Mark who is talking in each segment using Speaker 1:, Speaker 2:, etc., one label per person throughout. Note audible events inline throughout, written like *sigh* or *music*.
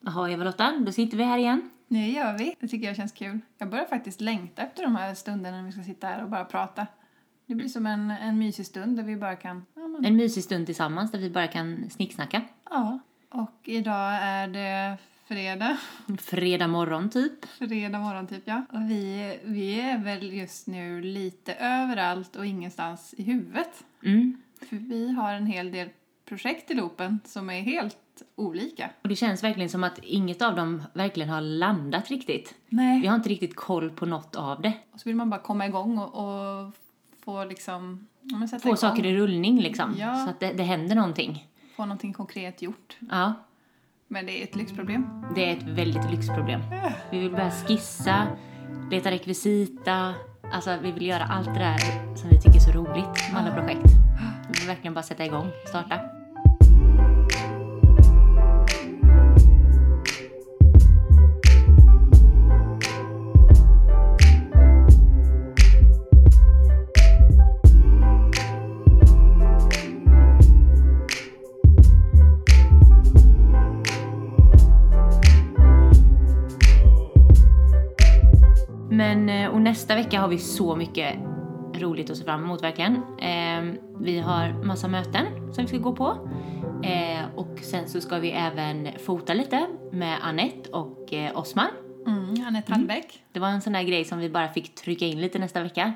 Speaker 1: Jaha, Eva-Lotta, då sitter vi här igen.
Speaker 2: Nu gör vi. Det tycker jag känns kul. Jag börjar faktiskt längta efter de här stunderna när vi ska sitta här och bara prata. Det blir som en, en mysig stund där vi bara kan... Ja, men,
Speaker 1: En mysig stund tillsammans där vi bara kan snicksnacka.
Speaker 2: ja. Och idag är det fredag. *laughs*
Speaker 1: Fredag morgon, typ.
Speaker 2: Fredag morgon typ, ja. Och vi, vi är väl just nu lite överallt och ingenstans i huvudet.
Speaker 1: Mm.
Speaker 2: För vi har en hel del projekt i loopen som är helt olika.
Speaker 1: Och det känns verkligen som att inget av dem verkligen har landat riktigt. Vi
Speaker 2: Nej.
Speaker 1: har inte riktigt koll på något av det.
Speaker 2: Och så vill man bara komma igång och, och få liksom... Ja, men sätta
Speaker 1: Få
Speaker 2: igång.
Speaker 1: saker i rullning, liksom.
Speaker 2: Ja.
Speaker 1: Så att det, det händer någonting.
Speaker 2: Få någonting konkret gjort.
Speaker 1: Ja,
Speaker 2: Men det är ett lyxproblem.
Speaker 1: det är ett väldigt lyxproblem. Vi vill börja skissa, leta rekvisita. Alltså, vi vill göra allt det där som vi tycker är så roligt med alla projekt. Vi vill verkligen bara sätta igång, starta. Men, eh, och nästa vecka har vi så mycket roligt att se fram emot verkligen. Eh, vi har massa möten som vi ska gå på. Eh, och sen så ska vi även fota lite med Annette och eh, Osman.
Speaker 2: Mm, Anette Hallbäck.
Speaker 1: Det var en sån där grej som vi bara fick trycka in lite nästa vecka.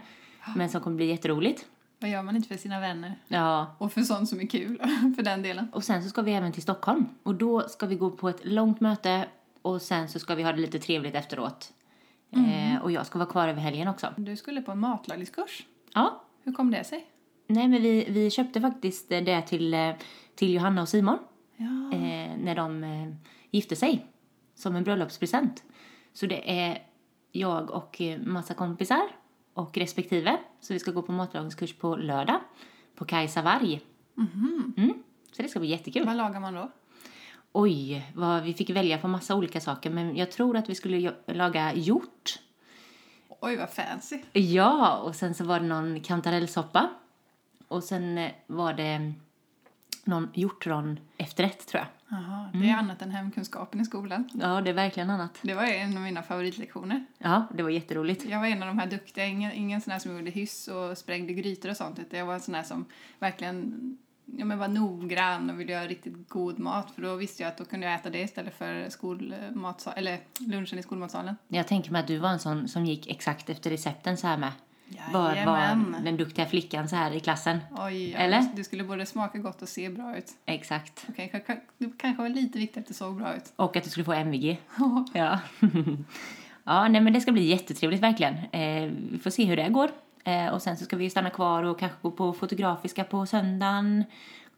Speaker 1: Men som kommer bli jätteroligt.
Speaker 2: Vad gör man inte för sina vänner?
Speaker 1: Ja.
Speaker 2: Och för sånt som är kul, *laughs* för den delen.
Speaker 1: Och sen så ska vi även till Stockholm. Och då ska vi gå på ett långt möte och sen så ska vi ha det lite trevligt efteråt. Eh, och jag ska vara kvar över helgen också.
Speaker 2: Du skulle på en matlagningskurs.
Speaker 1: Ja,
Speaker 2: Hur kom det sig?
Speaker 1: Nej, men vi, vi köpte faktiskt eh, det till, eh, till Johanna och Simon
Speaker 2: Ja.
Speaker 1: eh, när de eh, gifte sig som en bröllopspresent. Så det är jag och eh, massa kompisar och respektive. Så vi ska gå på matlagningskurs på lördag på Kajsa Varg. Mm, så det ska bli jättekul.
Speaker 2: Vad lagar man då?
Speaker 1: Oj, vad vi fick välja på massa olika saker. Men jag tror att vi skulle jo- laga hjort.
Speaker 2: Oj, vad fancy.
Speaker 1: Ja, och sen så var det någon kantarellsoppa. Och sen eh, var det någon hjortron efterrätt tror jag.
Speaker 2: Jaha, det är annat än hemkunskapen i skolan.
Speaker 1: Ja, det är verkligen annat.
Speaker 2: Det var en av mina favoritlektioner.
Speaker 1: Ja, det var jätteroligt.
Speaker 2: Jag var en av de här duktiga, ingen, ingen sån här som gjorde hyss och sprängde grytor och sånt. utan Jag var en sån här som verkligen ja, men var noggrann och ville göra riktigt god mat. För då visste jag att då kunde jag äta det istället för skolmatsal, eller lunchen i skolmatsalen.
Speaker 1: Jag tänker mig att du var en sån som gick exakt efter recepten så här med. Var,
Speaker 2: Jajamän.
Speaker 1: var den duktiga flickan så här i klassen.
Speaker 2: Oj, ja,
Speaker 1: Eller?
Speaker 2: Du skulle både smaka gott och se bra ut.
Speaker 1: Exakt.
Speaker 2: Okej, k- k- det kanske var lite viktigt att det såg bra ut.
Speaker 1: Och att du skulle få MVG. Ja. *laughs* ja, nej men det ska bli jättetrevligt verkligen. Eh, vi får se hur det går. Eh, och sen så ska vi stanna kvar och kanske gå på Fotografiska på söndagen.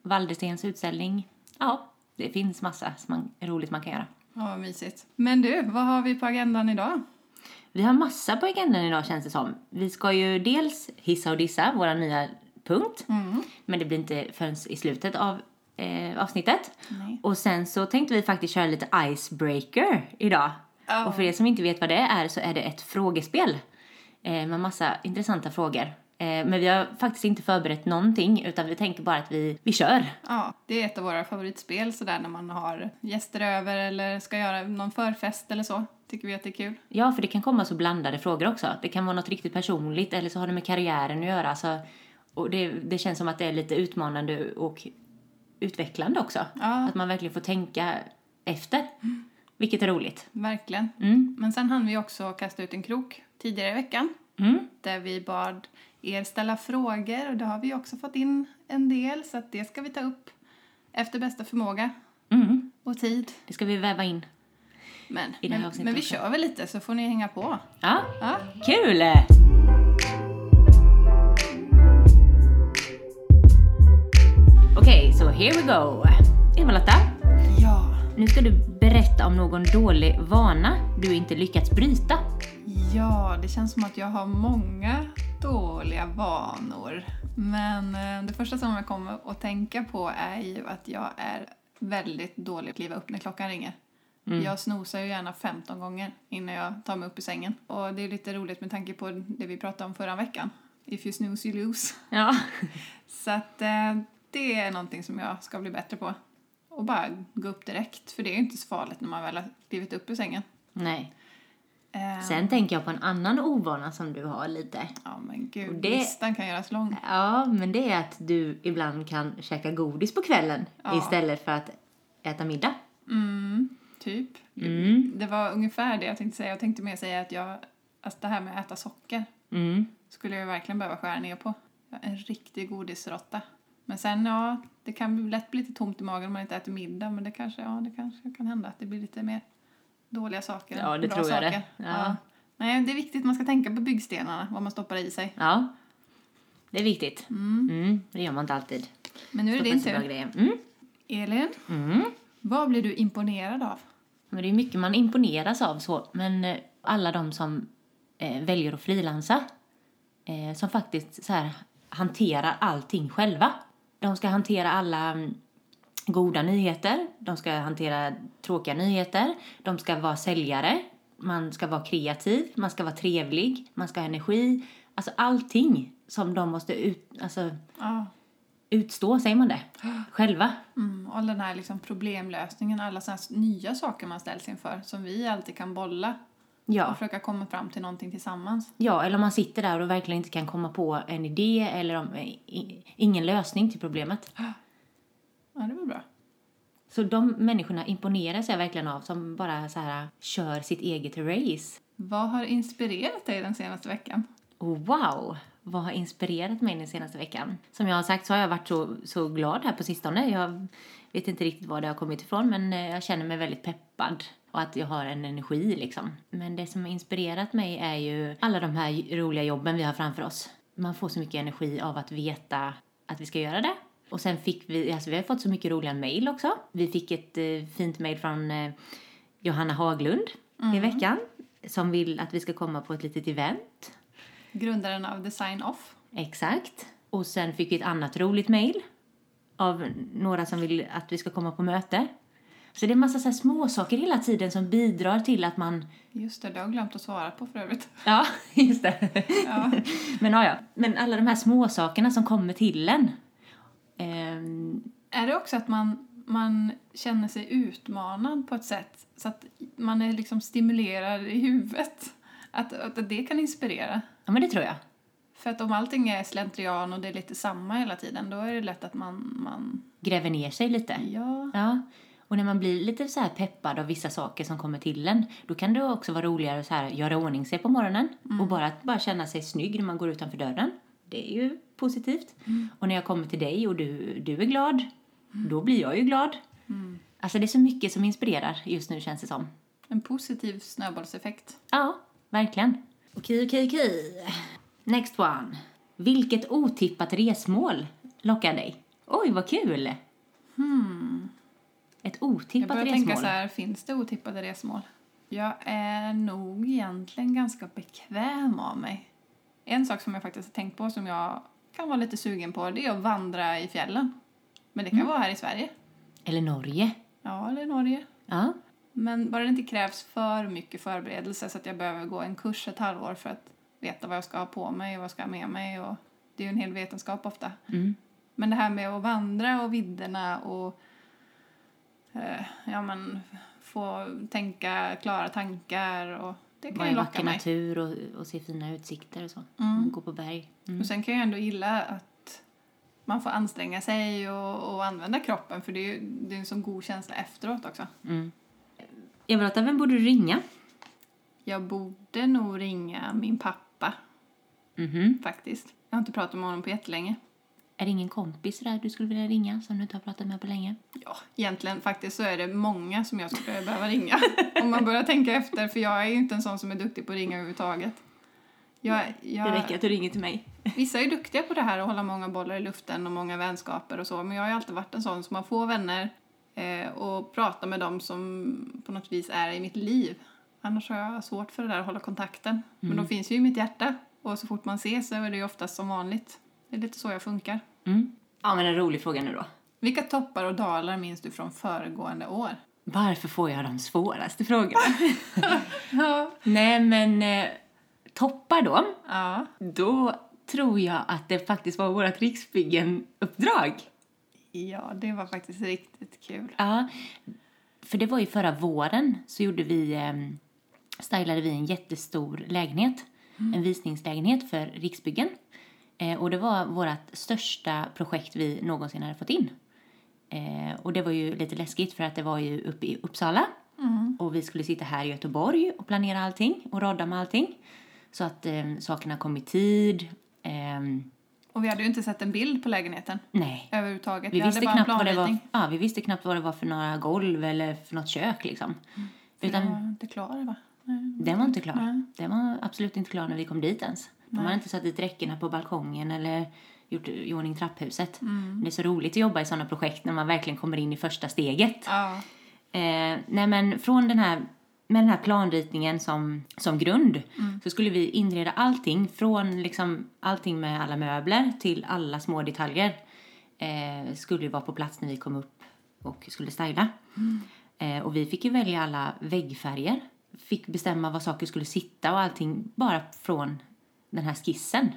Speaker 1: Walderstens utställning. Ja, det finns massa som man, roligt man kan göra.
Speaker 2: Ja, vad mysigt. Men du, vad har vi på agendan idag?
Speaker 1: Vi har massa på agendan idag känns det som. Vi ska ju dels hissa och dissa, vår nya punkt.
Speaker 2: Mm.
Speaker 1: Men det blir inte förrän i slutet av eh, avsnittet.
Speaker 2: Nej.
Speaker 1: Och sen så tänkte vi faktiskt köra lite icebreaker idag.
Speaker 2: Ja.
Speaker 1: Och för er som inte vet vad det är så är det ett frågespel. Eh, med massa intressanta frågor. Eh, men vi har faktiskt inte förberett någonting utan vi tänker bara att vi, vi kör.
Speaker 2: Ja, det är ett av våra favoritspel sådär när man har gäster över eller ska göra någon förfest eller så. Tycker vi att det är kul.
Speaker 1: Ja, för det kan komma så blandade frågor också. Det kan vara något riktigt personligt eller så har det med karriären att göra. Så, och det, det känns som att det är lite utmanande och utvecklande också.
Speaker 2: Ja.
Speaker 1: Att man verkligen får tänka efter. Vilket är roligt.
Speaker 2: Verkligen.
Speaker 1: Mm.
Speaker 2: Men sen hann vi också kasta ut en krok tidigare i veckan
Speaker 1: Mm.
Speaker 2: där vi bad er ställa frågor och det har vi också fått in en del så att det ska vi ta upp efter bästa förmåga
Speaker 1: Mm.
Speaker 2: och tid.
Speaker 1: Det ska vi väva in.
Speaker 2: Men,
Speaker 1: I det här
Speaker 2: men,
Speaker 1: avsnittet
Speaker 2: men vi
Speaker 1: också.
Speaker 2: kör väl lite så får ni hänga på.
Speaker 1: Ja,
Speaker 2: Ja.
Speaker 1: kul! Okej, så here we go. Eva-Lotta,
Speaker 2: Ja.
Speaker 1: nu ska du berätta om någon dålig vana du inte lyckats bryta.
Speaker 2: Ja, det känns som att jag har många dåliga vanor. Men eh, det första som jag kommer att tänka på är ju att jag är väldigt dålig på att kliva upp när klockan ringer.
Speaker 1: Mm.
Speaker 2: Jag snosar ju gärna 15 gånger innan jag tar mig upp ur sängen. Och det är lite roligt med tanke på det vi pratade om förra veckan. If you snooze you lose.
Speaker 1: Ja. *laughs*
Speaker 2: Så att eh, det är någonting som jag ska bli bättre på. och bara gå upp direkt. För det är ju inte så farligt när man väl har klivit upp ur sängen.
Speaker 1: Nej.
Speaker 2: Eh,
Speaker 1: Sen tänker jag på en annan ovana som du har lite.
Speaker 2: Ja men
Speaker 1: Och
Speaker 2: gud,
Speaker 1: det-
Speaker 2: listan kan göras lång.
Speaker 1: Ja, men det är att du ibland kan käka godis på kvällen
Speaker 2: Ja.
Speaker 1: istället för att äta middag.
Speaker 2: Mm, typ.
Speaker 1: Mm.
Speaker 2: Det var ungefär det jag tänkte säga. Jag tänkte mer säga att jag, alltså det här med att äta socker
Speaker 1: Mm.
Speaker 2: skulle jag verkligen behöva skära ner på. Jag är en riktig godisrotta. Men sen ja, det kan bli- lätt bli lite tomt i magen om man inte äter middag men det kanske, ja, det kanske kan hända att det blir lite mer dåliga saker än
Speaker 1: Ja, det
Speaker 2: bra
Speaker 1: tror jag det.
Speaker 2: saker.
Speaker 1: Ja.
Speaker 2: Nej, det är viktigt. Man ska tänka på byggstenarna, vad man stoppar i sig.
Speaker 1: Ja, det är viktigt. Mm. Det gör man inte alltid.
Speaker 2: Men nu är
Speaker 1: Stoppa
Speaker 2: det din
Speaker 1: inte bra
Speaker 2: tur.
Speaker 1: grejer. Mm.
Speaker 2: Elin,
Speaker 1: Mm.
Speaker 2: vad blir du imponerad av?
Speaker 1: Men det är mycket man imponeras av så, men eh, alla de som eh, väljer att frilansa, eh, som faktiskt så här, hanterar allting själva. De ska hantera alla mm, goda nyheter, de ska hantera tråkiga nyheter, de ska vara säljare, man ska vara kreativ, man ska vara trevlig, man ska ha energi. Alltså allting som de måste ut, alltså,
Speaker 2: Ja.
Speaker 1: utstå, säger man det, själva.
Speaker 2: Mm, och den här liksom problemlösningen, alla såna här nya saker man ställs inför som vi alltid kan bolla
Speaker 1: Ja.
Speaker 2: och försöka komma fram till någonting tillsammans.
Speaker 1: Ja, eller om man sitter där och verkligen inte kan komma på en idé eller om, eh, i- ingen lösning till problemet.
Speaker 2: Ja, det var bra.
Speaker 1: Så de människorna imponeras jag verkligen av som bara så här kör sitt eget race.
Speaker 2: Vad har inspirerat dig den senaste veckan?
Speaker 1: Och Wow! Vad har inspirerat mig den senaste veckan? Som jag har sagt så har jag varit så, så glad här på sistone. Jag vet inte riktigt var det har kommit ifrån men eh, jag känner mig väldigt peppad och att jag har en energi liksom. Men det som har inspirerat mig är ju alla de här roliga jobben vi har framför oss. Man får så mycket energi av att veta att vi ska göra det. Och sen fick vi, alltså vi har fått så mycket roliga mejl också. Vi fick ett eh, fint mejl från eh, Johanna Haglund i veckan som vill att vi ska komma på ett litet event.
Speaker 2: Grundaren av Design Off.
Speaker 1: Exakt. Och sen fick vi ett annat roligt mejl av några som vill att vi ska komma på möte. Så det är en massa så här små saker hela tiden som bidrar till att man...
Speaker 2: Just det, det har jag glömt att svara på för övrigt. *laughs*
Speaker 1: Ja, *laughs* just det.
Speaker 2: Ja.
Speaker 1: Men ja, ja. Men alla de här små sakerna som kommer till en. Ehm,
Speaker 2: Är det också att man, man känner sig utmanad på ett sätt så att man är liksom stimulerad i huvudet? Att, att det kan inspirera?
Speaker 1: ja, men det tror jag.
Speaker 2: För att om allting är slentrian och det är lite samma hela tiden då är det lätt att man... man
Speaker 1: Gräver ner sig lite.
Speaker 2: ja.
Speaker 1: Ja. Och när man blir lite så här peppad av vissa saker som kommer till en, då kan det också vara roligare att så här, göra i ordning sig på morgonen
Speaker 2: Mm.
Speaker 1: och bara, att bara känna sig snygg när man går utanför dörren. Det är ju positivt.
Speaker 2: Mm.
Speaker 1: Och när jag kommer till dig och du, du är glad, då blir jag ju glad.
Speaker 2: Mm.
Speaker 1: Alltså det är så mycket som inspirerar just nu känns det som.
Speaker 2: En positiv snöbollseffekt.
Speaker 1: Ja, verkligen. Okej, okej, okej. Next one. Vilket otippat resmål lockar dig? Oj, vad kul! Ett
Speaker 2: Hmm. Jag
Speaker 1: otippat
Speaker 2: börjar
Speaker 1: resmål.
Speaker 2: tänka så här, finns det otippade resmål? Jag är nog egentligen ganska bekväm av mig. En sak som jag faktiskt har tänkt på som jag kan vara lite sugen på det är att vandra i fjällen. Men det kan vara här i Sverige.
Speaker 1: Eller Norge.
Speaker 2: Ja, eller Norge.
Speaker 1: Ja.
Speaker 2: Men bara det inte krävs för mycket förberedelse så att jag behöver gå en kurs ett halvår för att veta vad jag ska ha på mig och vad jag ska ha med mig. Och det är ju en hel vetenskap ofta.
Speaker 1: Mm.
Speaker 2: Men det här med att vandra och vidderna och eh, ja, men, få tänka klara tankar och det kan
Speaker 1: Vara
Speaker 2: ju
Speaker 1: i
Speaker 2: locka
Speaker 1: vacker
Speaker 2: mig.
Speaker 1: natur och, och se fina utsikter och så. Gå på berg. Mm.
Speaker 2: Och sen kan jag ändå gilla att man får anstränga sig och, och använda kroppen för det är ju det är en sån god känsla efteråt också.
Speaker 1: Jag vill veta, vem borde du ringa?
Speaker 2: Jag borde nog ringa min pappa
Speaker 1: Mhm.
Speaker 2: faktiskt. Jag har inte pratat med honom på jättelänge.
Speaker 1: Är det ingen kompis där du skulle vilja ringa som du inte har pratat med på länge?
Speaker 2: Ja, egentligen faktiskt så är det många som jag skulle behöva
Speaker 1: *laughs*
Speaker 2: ringa. Om man börjar tänka efter, för jag är ju inte en sån som är duktig på att ringa överhuvudtaget. Jag,
Speaker 1: Det
Speaker 2: jag,
Speaker 1: räcker att du ringer till mig.
Speaker 2: vissa är ju duktiga på det här att hålla många bollar i luften och många vänskaper och så, men jag har ju alltid varit en sån som har få vänner eh, och pratar med dem som på något vis är i mitt liv. Annars har jag svårt för det där att hålla kontakten. Men
Speaker 1: Mm.
Speaker 2: de finns ju i mitt hjärta och så fort man ses så är det ju oftast som vanligt. Det är lite så jag funkar.
Speaker 1: Mm. Ja, men en rolig fråga nu då.
Speaker 2: Vilka toppar och dalar minns du från föregående år?
Speaker 1: Varför får jag de svåraste frågorna?
Speaker 2: Ja.
Speaker 1: *laughs* Nej, men eh, toppar då.
Speaker 2: Ja.
Speaker 1: Då tror jag att det faktiskt var vårt Riksbyggen-uppdrag.
Speaker 2: Ja, det var faktiskt riktigt kul.
Speaker 1: Ja, för det var ju förra våren så gjorde vi, ehm, stylade vi en jättestor lägenhet, en visningslägenhet för Riksbyggen. Eh, och det var vårt största projekt vi någonsin hade fått in. Eh, och det var ju lite läskigt för att det var ju uppe i Uppsala och vi skulle sitta här i Göteborg och planera allting och rodda med allting. Så att eh, sakerna kom i tid. Ehm,
Speaker 2: Och vi hade ju inte sett en bild på lägenheten
Speaker 1: nej,
Speaker 2: överhuvudtaget.
Speaker 1: vi visste,
Speaker 2: hade
Speaker 1: knappt vad det var,
Speaker 2: planritning.
Speaker 1: ja, vi visste knappt vad det var för några golv eller för något kök. Liksom. Utan
Speaker 2: Det var inte klar, va? Nej.
Speaker 1: den var inte klar.
Speaker 2: Nej.
Speaker 1: Den var absolut inte klar när vi kom dit ens. De hade inte satt dit räckena på balkongen eller gjort i ordning trapphuset. Det är så roligt att jobba i sådana projekt när man verkligen kommer in i första steget.
Speaker 2: Ja.
Speaker 1: Eh, nej men från den här, med den här planritningen som, som grund så skulle vi inreda allting från liksom allting med alla möbler till alla små detaljer eh, skulle ju vara på plats när vi kom upp och skulle styla. Eh, och vi fick ju välja alla väggfärger, fick bestämma var saker skulle sitta och allting bara från den här skissen.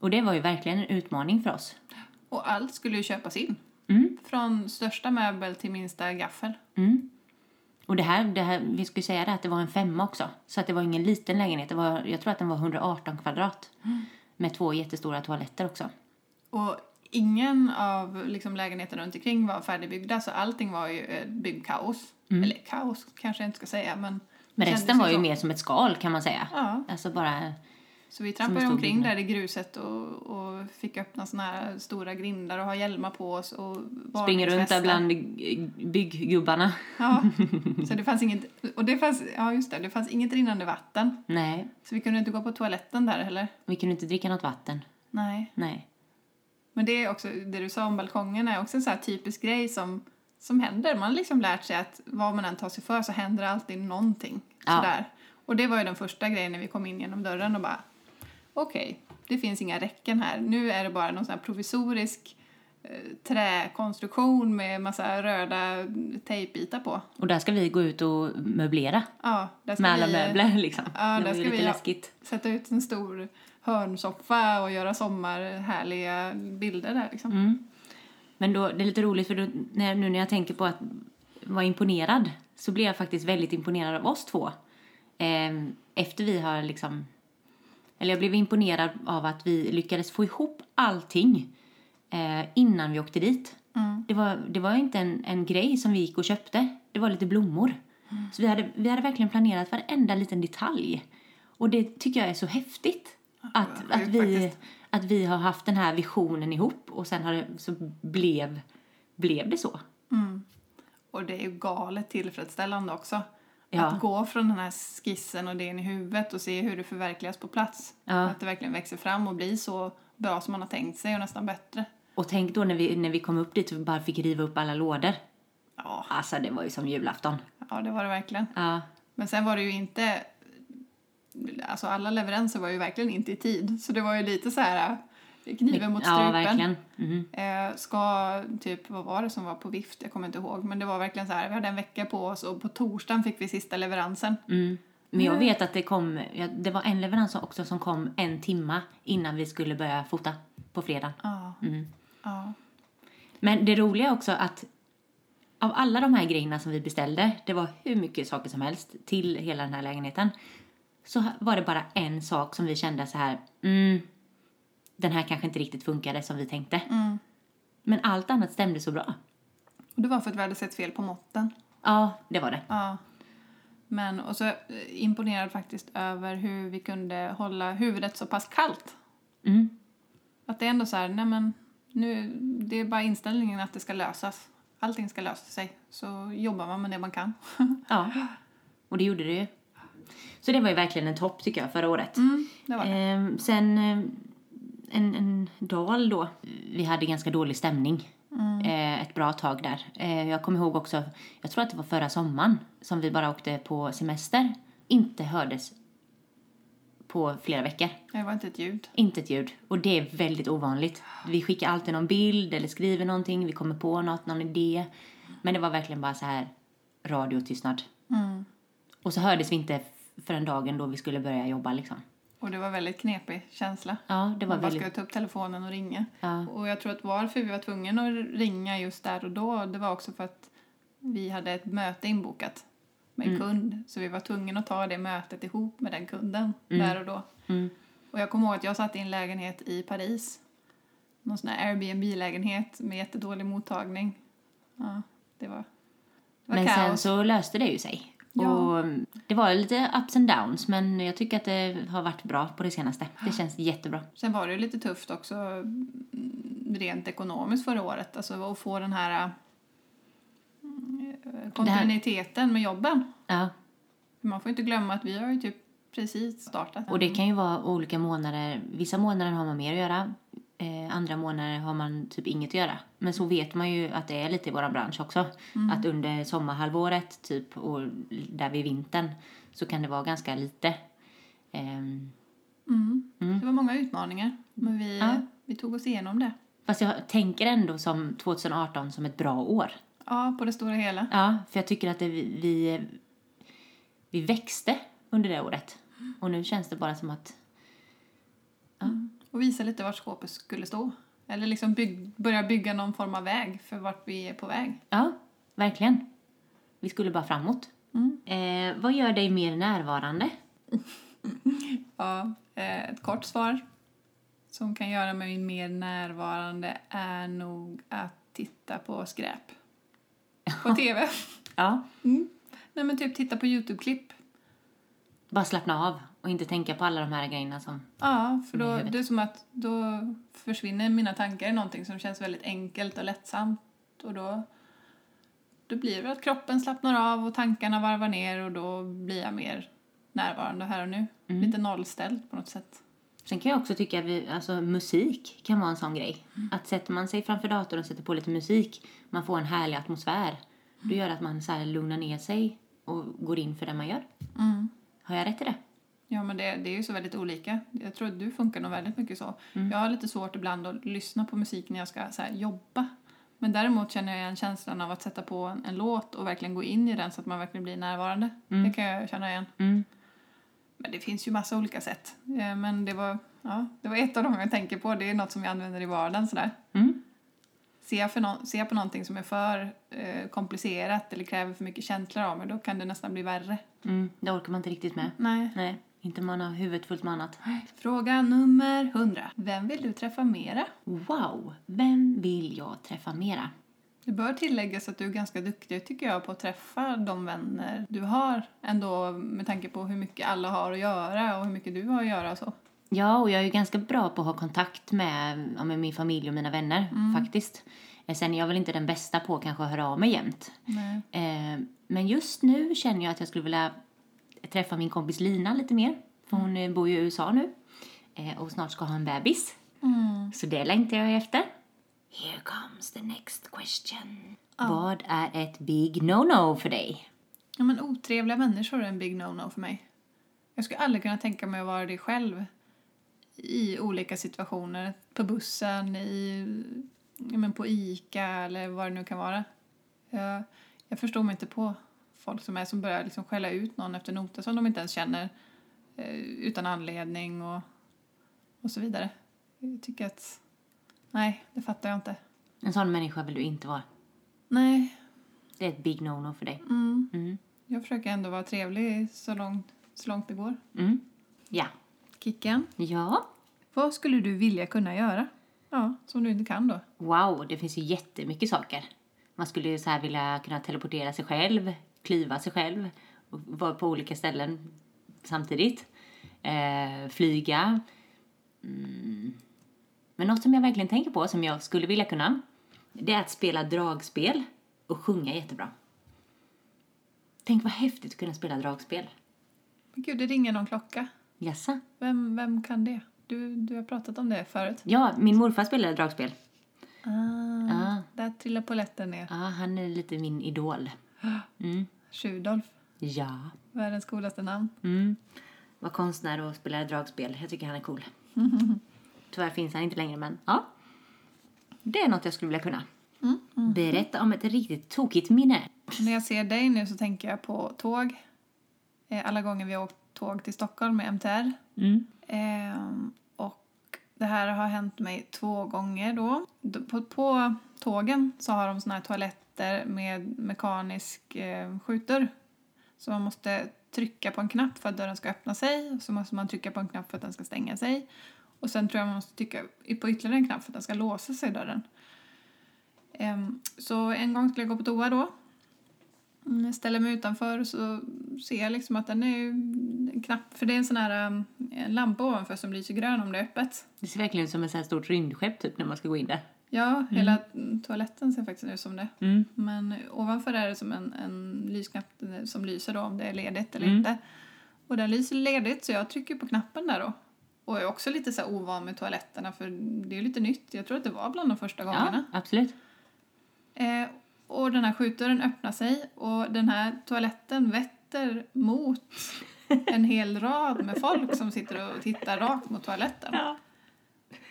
Speaker 1: Och det var ju verkligen en utmaning för oss.
Speaker 2: Och allt skulle ju köpas in.
Speaker 1: Mm.
Speaker 2: Från största möbel till minsta gaffel.
Speaker 1: Och det här, det här, vi skulle säga det att det var en femma också. Så att det var ingen liten lägenhet. Det var, jag tror att den var 118 kvadrat. Med två jättestora toaletter också.
Speaker 2: Och ingen av liksom, lägenheterna runt omkring var färdigbyggda så allting var ju eh, byggkaos. Eller kaos kanske jag inte ska säga men...
Speaker 1: Mm. Men
Speaker 2: det
Speaker 1: resten
Speaker 2: kändes
Speaker 1: var ju
Speaker 2: så.
Speaker 1: mer som ett skal kan man säga.
Speaker 2: Ja,
Speaker 1: Alltså bara,
Speaker 2: så vi
Speaker 1: Som
Speaker 2: trampade
Speaker 1: en stor
Speaker 2: omkring
Speaker 1: byggnad.
Speaker 2: där i gruset och, och fick öppna såna här stora grindar och ha hjälmar på oss och
Speaker 1: springer runt där
Speaker 2: varningsvästar.
Speaker 1: bland g- bygggubbarna.
Speaker 2: Ja, så det fanns inget... Och det fanns, ja just det, det fanns inget rinnande vatten.
Speaker 1: Nej,
Speaker 2: Så vi kunde inte gå på toaletten där heller.
Speaker 1: vi kunde inte dricka något vatten.
Speaker 2: Nej.
Speaker 1: Nej.
Speaker 2: Men det är också, det du sa om balkongen är också en så här typisk grej som, som händer. Man har liksom lärt sig att vad man än tar sig för så händer det alltid någonting.
Speaker 1: Ja.
Speaker 2: Sådär. Och det var ju den första grejen när vi kom in genom dörren och bara okej, det finns inga räcken här. Nu är det bara någon sån här provisorisk eh, träkonstruktion med massa röda tejpbitar på.
Speaker 1: Och där ska vi gå ut och möblera.
Speaker 2: Ja, där ska
Speaker 1: Med alla
Speaker 2: vi, eh,
Speaker 1: möbler liksom.
Speaker 2: Ja,
Speaker 1: det
Speaker 2: där
Speaker 1: var ju
Speaker 2: ska
Speaker 1: lite
Speaker 2: vi- ja.
Speaker 1: läskigt.
Speaker 2: Sätta ut en stor hörnsoffa och göra sommarhärliga bilder där liksom.
Speaker 1: Mm. Men då, det är lite roligt för då, när, nu när jag tänker på att vara imponerad så blir jag faktiskt väldigt imponerad av oss två. Ehm, efter vi har liksom, eller jag blev imponerad av att vi lyckades få ihop allting eh, innan vi åkte dit.
Speaker 2: Mm.
Speaker 1: Det, var, det var inte en, en grej som vi gick och köpte, det var lite blommor.
Speaker 2: Mm.
Speaker 1: Så vi hade, vi hade verkligen planerat varenda liten detalj. Och det tycker jag är så häftigt. Att,
Speaker 2: sjukt
Speaker 1: att, vi,
Speaker 2: faktiskt.
Speaker 1: att vi har haft den här visionen ihop och sen har det, så blev, blev det så.
Speaker 2: Och det är ju galet tillfredsställande också.
Speaker 1: Ja.
Speaker 2: Att gå från den här skissen och idén i huvudet och se hur det förverkligas på plats.
Speaker 1: Ja.
Speaker 2: Att det verkligen växer fram och blir så bra som man har tänkt sig och nästan bättre.
Speaker 1: Och tänk då när vi, när vi kom upp dit och vi bara fick riva upp alla lådor.
Speaker 2: Ja,
Speaker 1: Alltså det var ju som julafton.
Speaker 2: ja det var det verkligen.
Speaker 1: Ja,
Speaker 2: Men sen var det ju inte... Alltså alla leveranser var ju verkligen inte i tid. Så det var ju lite så här eh, kniven mot strupen.
Speaker 1: ja verkligen. Mm.
Speaker 2: Eh, ska, typ, vad var det som var på vift? Jag kommer inte ihåg. Men det var verkligen så här, vi hade en vecka på oss och på torsdagen fick vi sista leveransen.
Speaker 1: Mm. Men jag vet att det kom, ja, det var en leverans också som kom en timma innan vi skulle börja fota på fredagen.
Speaker 2: Ja. ja.
Speaker 1: Men det roliga är också att av alla de här grejerna som vi beställde, det var hur mycket saker som helst till hela den här lägenheten, så var det bara en sak som vi kände så här, mm, den här kanske inte riktigt funkade som vi tänkte.
Speaker 2: Mm.
Speaker 1: Men allt annat stämde så bra.
Speaker 2: Och det var för att vi hade sett fel på måtten.
Speaker 1: Ja, det var det.
Speaker 2: Ja. Men, och så eh, imponerad faktiskt över hur vi kunde hålla huvudet så pass kallt.
Speaker 1: Mm.
Speaker 2: Att det är ändå så här, nej men, nu, det är bara inställningen att det ska lösas. Allting ska lösa sig. Så jobbar man med det man kan. *laughs*
Speaker 1: Ja, och det gjorde det ju. Så det var ju verkligen en topp tycker jag förra året.
Speaker 2: Mm, det var det.
Speaker 1: Ehm, sen ehm, en, en dal då. Vi hade ganska dålig stämning eh, ett bra tag där. Eh, jag kommer ihåg också, jag tror att det var förra sommaren som vi bara åkte på semester. Inte hördes på flera veckor.
Speaker 2: Det var inte ett ljud.
Speaker 1: Inte ett ljud. Och det är väldigt ovanligt. Vi skickar alltid någon bild eller skriver någonting. Vi kommer på något, någon idé. Men det var verkligen bara så här Mm. radiotystnad. Och så hördes vi inte f- förrän dagen då vi skulle börja jobba liksom.
Speaker 2: Och det var väldigt knepig känsla.
Speaker 1: Ja, det var
Speaker 2: Man bara
Speaker 1: väldigt...
Speaker 2: skulle ta upp telefonen och ringa.
Speaker 1: Ja,
Speaker 2: Och jag tror att varför vi var tvungna att ringa just där och då, det var också för att vi hade ett möte inbokat med
Speaker 1: Mm.
Speaker 2: en kund. Så vi var tvungna att ta det mötet ihop med den kunden där och då.
Speaker 1: mm,
Speaker 2: Och jag kommer ihåg att jag satt i en lägenhet i Paris. Någon sån här Airbnb-lägenhet med jättedålig mottagning. Ja, det var, det var
Speaker 1: Men sen
Speaker 2: kaos.
Speaker 1: så löste det ju sig.
Speaker 2: Ja.
Speaker 1: Och mm, det var lite ups and downs, men jag tycker att det har varit bra på det senaste. Det känns jättebra.
Speaker 2: Sen var det ju lite tufft också mm, rent ekonomiskt förra året. Alltså att få den här mm, kontinuiteten med jobben.
Speaker 1: Ja.
Speaker 2: Man får inte glömma att vi har ju typ precis startat.
Speaker 1: Och det kan ju vara olika månader. Vissa månader har man mer att göra. Eh, andra månader har man typ inget att göra. Men så vet man ju att det är lite i vår bransch också.
Speaker 2: Mm.
Speaker 1: Att under sommarhalvåret typ och där vid vintern så kan det vara ganska lite. Ehm,
Speaker 2: Mm.
Speaker 1: Mm.
Speaker 2: Det var många utmaningar, men vi,
Speaker 1: Ja.
Speaker 2: vi tog oss igenom det.
Speaker 1: fast jag tänker ändå som 2018 som ett bra år.
Speaker 2: Ja, på det stora hela.
Speaker 1: Ja, för jag tycker att det, vi, vi växte under det året. Och nu känns det bara som att
Speaker 2: Och visa lite vart skåpet skulle stå. Eller liksom bygg, börja bygga någon form av väg för vart vi är på väg.
Speaker 1: Ja, verkligen. Vi skulle bara framåt.
Speaker 2: Mm.
Speaker 1: Eh, vad gör dig mer närvarande?
Speaker 2: Ja, eh, ett kort svar som kan göra mig mer närvarande är nog att titta på skräp. På TV.
Speaker 1: Ja.
Speaker 2: Nej men typ titta på YouTube-klipp.
Speaker 1: Bara slappna av och inte tänka på alla de här grejerna som...
Speaker 2: Ja, för
Speaker 1: Med
Speaker 2: då,
Speaker 1: huvudet.
Speaker 2: det är som att då försvinner mina tankar i någonting som känns väldigt enkelt och lättsamt. Och då, då blir det att kroppen slappnar av och tankarna varvar ner och då blir jag mer närvarande här och nu. Lite nollställd på något sätt.
Speaker 1: Sen kan jag också tycka att vi, alltså, musik kan vara en sån grej. Att sätter man sig framför datorn och sätter på lite musik, man får en härlig atmosfär. Det gör att man så här lugnar ner sig och går in för det man gör.
Speaker 2: Mm.
Speaker 1: Har jag rätt i det?
Speaker 2: Ja, men det, det är ju så väldigt olika. Jag tror att du funkar nog väldigt mycket så. Jag har lite svårt ibland att lyssna på musik när jag ska så här, jobba. Men däremot känner jag igen känslan av att sätta på en, en låt och verkligen gå in i den så att man verkligen blir närvarande. Det kan jag känna igen.
Speaker 1: Mm.
Speaker 2: Men det finns ju massa olika sätt. Eh, Men det var, ja, det var ett av dem jag tänker på. Det är något som jag använder i vardagen. Sådär.
Speaker 1: Mm.
Speaker 2: Ser, jag för nå- ser jag på någonting som är för eh, komplicerat eller kräver för mycket känslor av mig, då kan det nästan bli värre.
Speaker 1: Mm. Det orkar man inte riktigt med.
Speaker 2: Nej.
Speaker 1: Nej, inte om man har huvudet fullt med annat.
Speaker 2: Fråga nummer 100. Vem vill du träffa mera?
Speaker 1: Wow! Vem vill jag träffa mera?
Speaker 2: Det bör tilläggas att du är ganska duktig tycker jag på att träffa de vänner du har ändå med tanke på hur mycket alla har att göra och hur mycket du har att göra och så.
Speaker 1: Ja, och jag är ju ganska bra på att ha kontakt med, ja, med min familj och mina vänner faktiskt. Eh, Sen är jag väl inte den bästa på att kanske höra av mig jämt.
Speaker 2: Nej.
Speaker 1: Eh, men just nu känner jag att jag skulle vilja träffa min kompis Lina lite mer. För hon eh, bor ju i USA nu eh, och snart ska ha en bebis. Så det längtar jag efter. Here comes the next question. Vad är ett big no-no för dig?
Speaker 2: Ja, men otrevliga människor är en big no-no för mig. Jag skulle aldrig kunna tänka mig att vara det själv i olika situationer. På bussen, i, ja, men på Ica eller vad det nu kan vara. Jag, jag förstår mig inte på folk som är som börjar liksom skälla ut någon efter noter som de inte ens känner eh, utan anledning och, och så vidare. Jag tycker att... Nej, det fattar jag inte.
Speaker 1: En sån människa vill du inte vara.
Speaker 2: Nej,
Speaker 1: Det är ett big no-no för dig.
Speaker 2: mm,
Speaker 1: Mm.
Speaker 2: jag försöker ändå vara trevlig så långt, så långt det går.
Speaker 1: Mm. Ja.
Speaker 2: Kicken.
Speaker 1: Ja.
Speaker 2: Vad skulle du vilja kunna göra? Ja, som du inte kan då.
Speaker 1: Wow, det finns ju jättemycket saker. Man skulle ju så här vilja kunna teleportera sig själv, kliva sig själv, och vara på olika ställen samtidigt. Eh, flyga. Mm. Men något som jag verkligen tänker på, som jag skulle vilja kunna, det är att spela dragspel och sjunga jättebra. Tänk vad häftigt att kunna spela dragspel.
Speaker 2: Men gud, det ringer någon klocka.
Speaker 1: Jassa.
Speaker 2: Vem, vem kan det? Du, du har pratat om det förut.
Speaker 1: Ja, min morfar spelade dragspel.
Speaker 2: Ah,
Speaker 1: Ah.
Speaker 2: Där trillar polletten ner.
Speaker 1: Ja, han är lite min idol. Mm.
Speaker 2: Tjudolf,
Speaker 1: Ja.
Speaker 2: världens coolaste namn.
Speaker 1: Mm. Var konstnär och spelade dragspel. Jag tycker han är *laughs* cool. Tyvärr finns han inte längre, men ja. Det är något jag skulle vilja kunna. Mm, Berätta om ett riktigt tokigt minne.
Speaker 2: När jag ser dig nu så tänker jag på tåg. eh, alla gånger vi har åkt tåg till Stockholm med MTR.
Speaker 1: Mm.
Speaker 2: Ehm, och det här har hänt mig två gånger då. D- På, på tågen så har de såna här toaletter med mekanisk eh, skjutdörr. Så man måste trycka på en knapp för att dörren ska öppna sig. Så måste man trycka på en knapp för att den ska stänga sig. Och sen tror jag man måste trycka y- på ytterligare en knapp för att den ska låsa sig dörren. Ehm, så en gång skulle jag gå på toa då. Mm, Jag ställer mig utanför så ser jag liksom att den är ju knapp. För det är en sån här um, en lampa ovanför som lyser grön om det är öppet.
Speaker 1: Det ser verkligen ut som ett så här stort rymdskepp typ när man ska gå in där.
Speaker 2: Ja, hela toaletten ser faktiskt ut som det.
Speaker 1: Mm.
Speaker 2: Men ovanför är det som en, en lysknapp eh, som lyser då om det är ledigt eller
Speaker 1: Mm.
Speaker 2: inte. Och den lyser ledigt så jag trycker på knappen där då. Och jag är också lite så här ovan med toaletterna för det är lite nytt. Jag tror att det var bland de första gångerna.
Speaker 1: Ja, absolut.
Speaker 2: Eh, och den här skjutdörren öppnar sig och den här toaletten vetter mot en hel rad med folk som sitter och tittar rakt mot toaletten.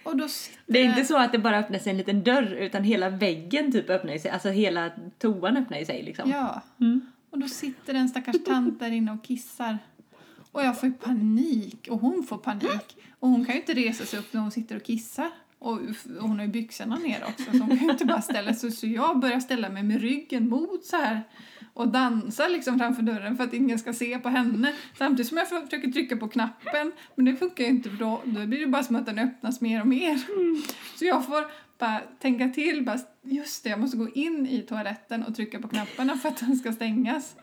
Speaker 2: Och då sitter
Speaker 1: Det är inte så att det bara öppnar sig en liten dörr utan hela väggen typ öppnar ju sig, alltså hela toan öppnar ju sig liksom.
Speaker 2: Ja.
Speaker 1: Mm.
Speaker 2: Och då sitter en stackars tant där inne och kissar. Och jag får ju panik och hon får panik. Och hon kan ju inte resa sig upp när hon sitter och kissar. Och f- och hon har ju byxorna ner också så hon kan ju inte bara ställa sig. Så jag börjar ställa mig med ryggen mot så här och dansa liksom framför dörren för att ingen ska se på henne. Samtidigt som jag försöker trycka på knappen. Men det funkar ju inte för då, då blir det bara som att den öppnas mer och mer.
Speaker 1: Mm.
Speaker 2: Så jag får bara tänka till. Bara, just det, jag måste gå in i toaletten och trycka på knapparna för att den ska stängas.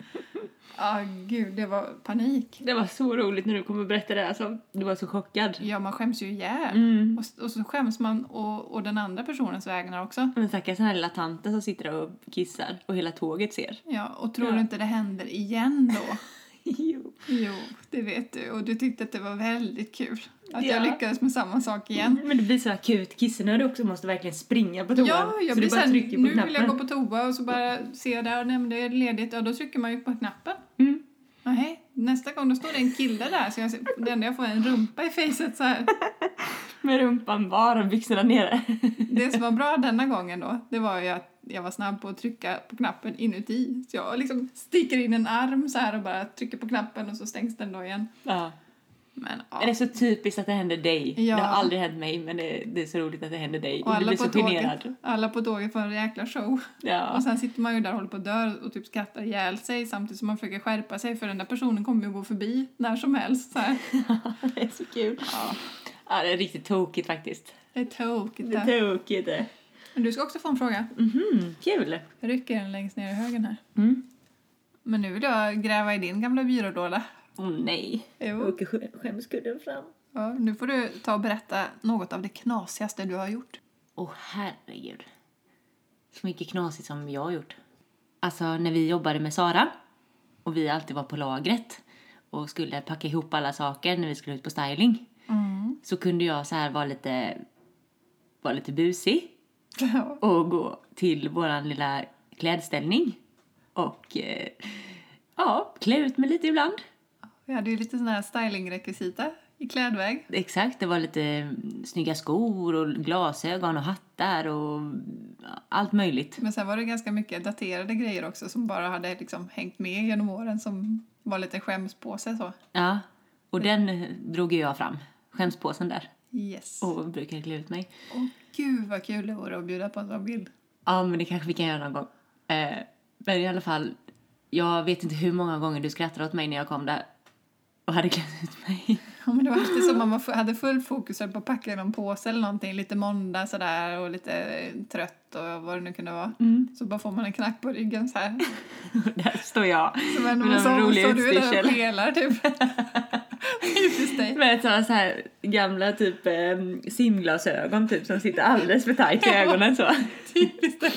Speaker 2: Ja, gud, det var panik.
Speaker 1: Det var så roligt när du kom och berättade det, alltså. Du var så chockad.
Speaker 2: Ja, man skäms ju ihjäl.
Speaker 1: Mm.
Speaker 2: Och, s- och så skäms man och, och den andra personens vägnar också.
Speaker 1: Men stackars den här lilla tanten som sitter och kissar och hela tåget ser.
Speaker 2: Ja, och tror
Speaker 1: Ja.
Speaker 2: du inte det händer igen
Speaker 1: *laughs*
Speaker 2: då?
Speaker 1: Jo.
Speaker 2: *laughs* Jo, det vet du. Och du tyckte att det var väldigt kul. Att jag
Speaker 1: Ja.
Speaker 2: lyckades med samma sak igen.
Speaker 1: Men det blir så akut kissnödig också, måste verkligen springa på toan.
Speaker 2: Ja, jag
Speaker 1: så
Speaker 2: blir
Speaker 1: du bara
Speaker 2: såhär,
Speaker 1: trycker på
Speaker 2: nu
Speaker 1: knappen.
Speaker 2: vill jag gå på toa och så bara ser jag där, nej men det är ledigt. Ja, då trycker man ju på knappen.
Speaker 1: Mm.
Speaker 2: Nej, nästa gång då står det en kille där så jag ser, det enda jag får är en rumpa i facet så här.
Speaker 1: Med rumpan bar och byxorna nere. *laughs*
Speaker 2: Det som var bra denna gången då, det var ju att jag var snabb på att trycka på knappen inuti. Så jag liksom sticker in en arm så här och bara trycker på knappen och så stängs den då igen.
Speaker 1: ja.
Speaker 2: Men
Speaker 1: Det är
Speaker 2: ja.
Speaker 1: så typiskt att det händer dig.
Speaker 2: Ja.
Speaker 1: Det har aldrig hänt mig, men det, det är så roligt att det händer dig.
Speaker 2: Och
Speaker 1: du
Speaker 2: alla
Speaker 1: blir
Speaker 2: på,
Speaker 1: så
Speaker 2: tåget, Alltså,
Speaker 1: generad.
Speaker 2: alla på tåget får en jäkla show.
Speaker 1: Ja.
Speaker 2: Och sen sitter man ju där och håller på och dör och typ skrattar ihjäl sig samtidigt som man försöker skärpa sig för den där personen kommer ju gå förbi när som helst. Så här.
Speaker 1: det är så kul.
Speaker 2: Ja,
Speaker 1: Ja, det är riktigt tokigt faktiskt.
Speaker 2: det är tokigt.
Speaker 1: Det
Speaker 2: där.
Speaker 1: är tokigt. det.
Speaker 2: Men du ska också få en fråga.
Speaker 1: Mhm, kul.
Speaker 2: Jag rycker den längst ner i högen här.
Speaker 1: Mm.
Speaker 2: Men nu vill jag gräva i din gamla byrålåda.
Speaker 1: Åh nej.
Speaker 2: Jo.
Speaker 1: Åker skä- skämskudden fram.
Speaker 2: Ja, nu får du ta och berätta något av det knasigaste du har gjort.
Speaker 1: Åh herregud. Så mycket knasigt som jag har gjort. Alltså när vi jobbade med Sara och vi alltid var på lagret och skulle packa ihop alla saker när vi skulle ut på styling så kunde jag så här vara lite, vara lite busig
Speaker 2: *laughs* Ja.
Speaker 1: och gå till våran lilla klädställning och eh, ja, klä ut mig lite ibland.
Speaker 2: Vi hade ju lite sån här stylingrekvisita i klädväg.
Speaker 1: Exakt, det var lite mm, snygga skor och glasögon och hattar och allt möjligt.
Speaker 2: Men sen var det ganska mycket daterade grejer också som bara hade liksom hängt med genom åren som var lite skämspåse så.
Speaker 1: Ja, och den eh, drog ju jag fram, skämspåsen där,
Speaker 2: Yes.
Speaker 1: och brukar klä ut mig.
Speaker 2: Åh gud vad kul det vore att bjuda på en sån bild.
Speaker 1: Ja, men det kanske vi kan göra någon gång. Eh, men i alla fall, jag vet inte hur många gånger du skrattade åt mig när jag kom där och hade klätt ut mig. *laughs*
Speaker 2: *laughs* Ja, men det var alltid som om man f- hade full fokus på att packa i någon påse eller någonting. Lite måndag sådär och lite eh, trött och vad det nu kunde vara. Så bara får man en knack på ryggen *laughs* så här.
Speaker 1: där står jag
Speaker 2: Som en
Speaker 1: med någon
Speaker 2: så,
Speaker 1: rolig
Speaker 2: så du är där och
Speaker 1: utstyrsel.
Speaker 2: pelar *laughs* typ. Typiskt dig.
Speaker 1: Med sådana så här gamla typ eh, simglasögon typ som sitter alldeles för
Speaker 2: *laughs*
Speaker 1: tajt i ögonen så.
Speaker 2: *laughs* Typiskt dig.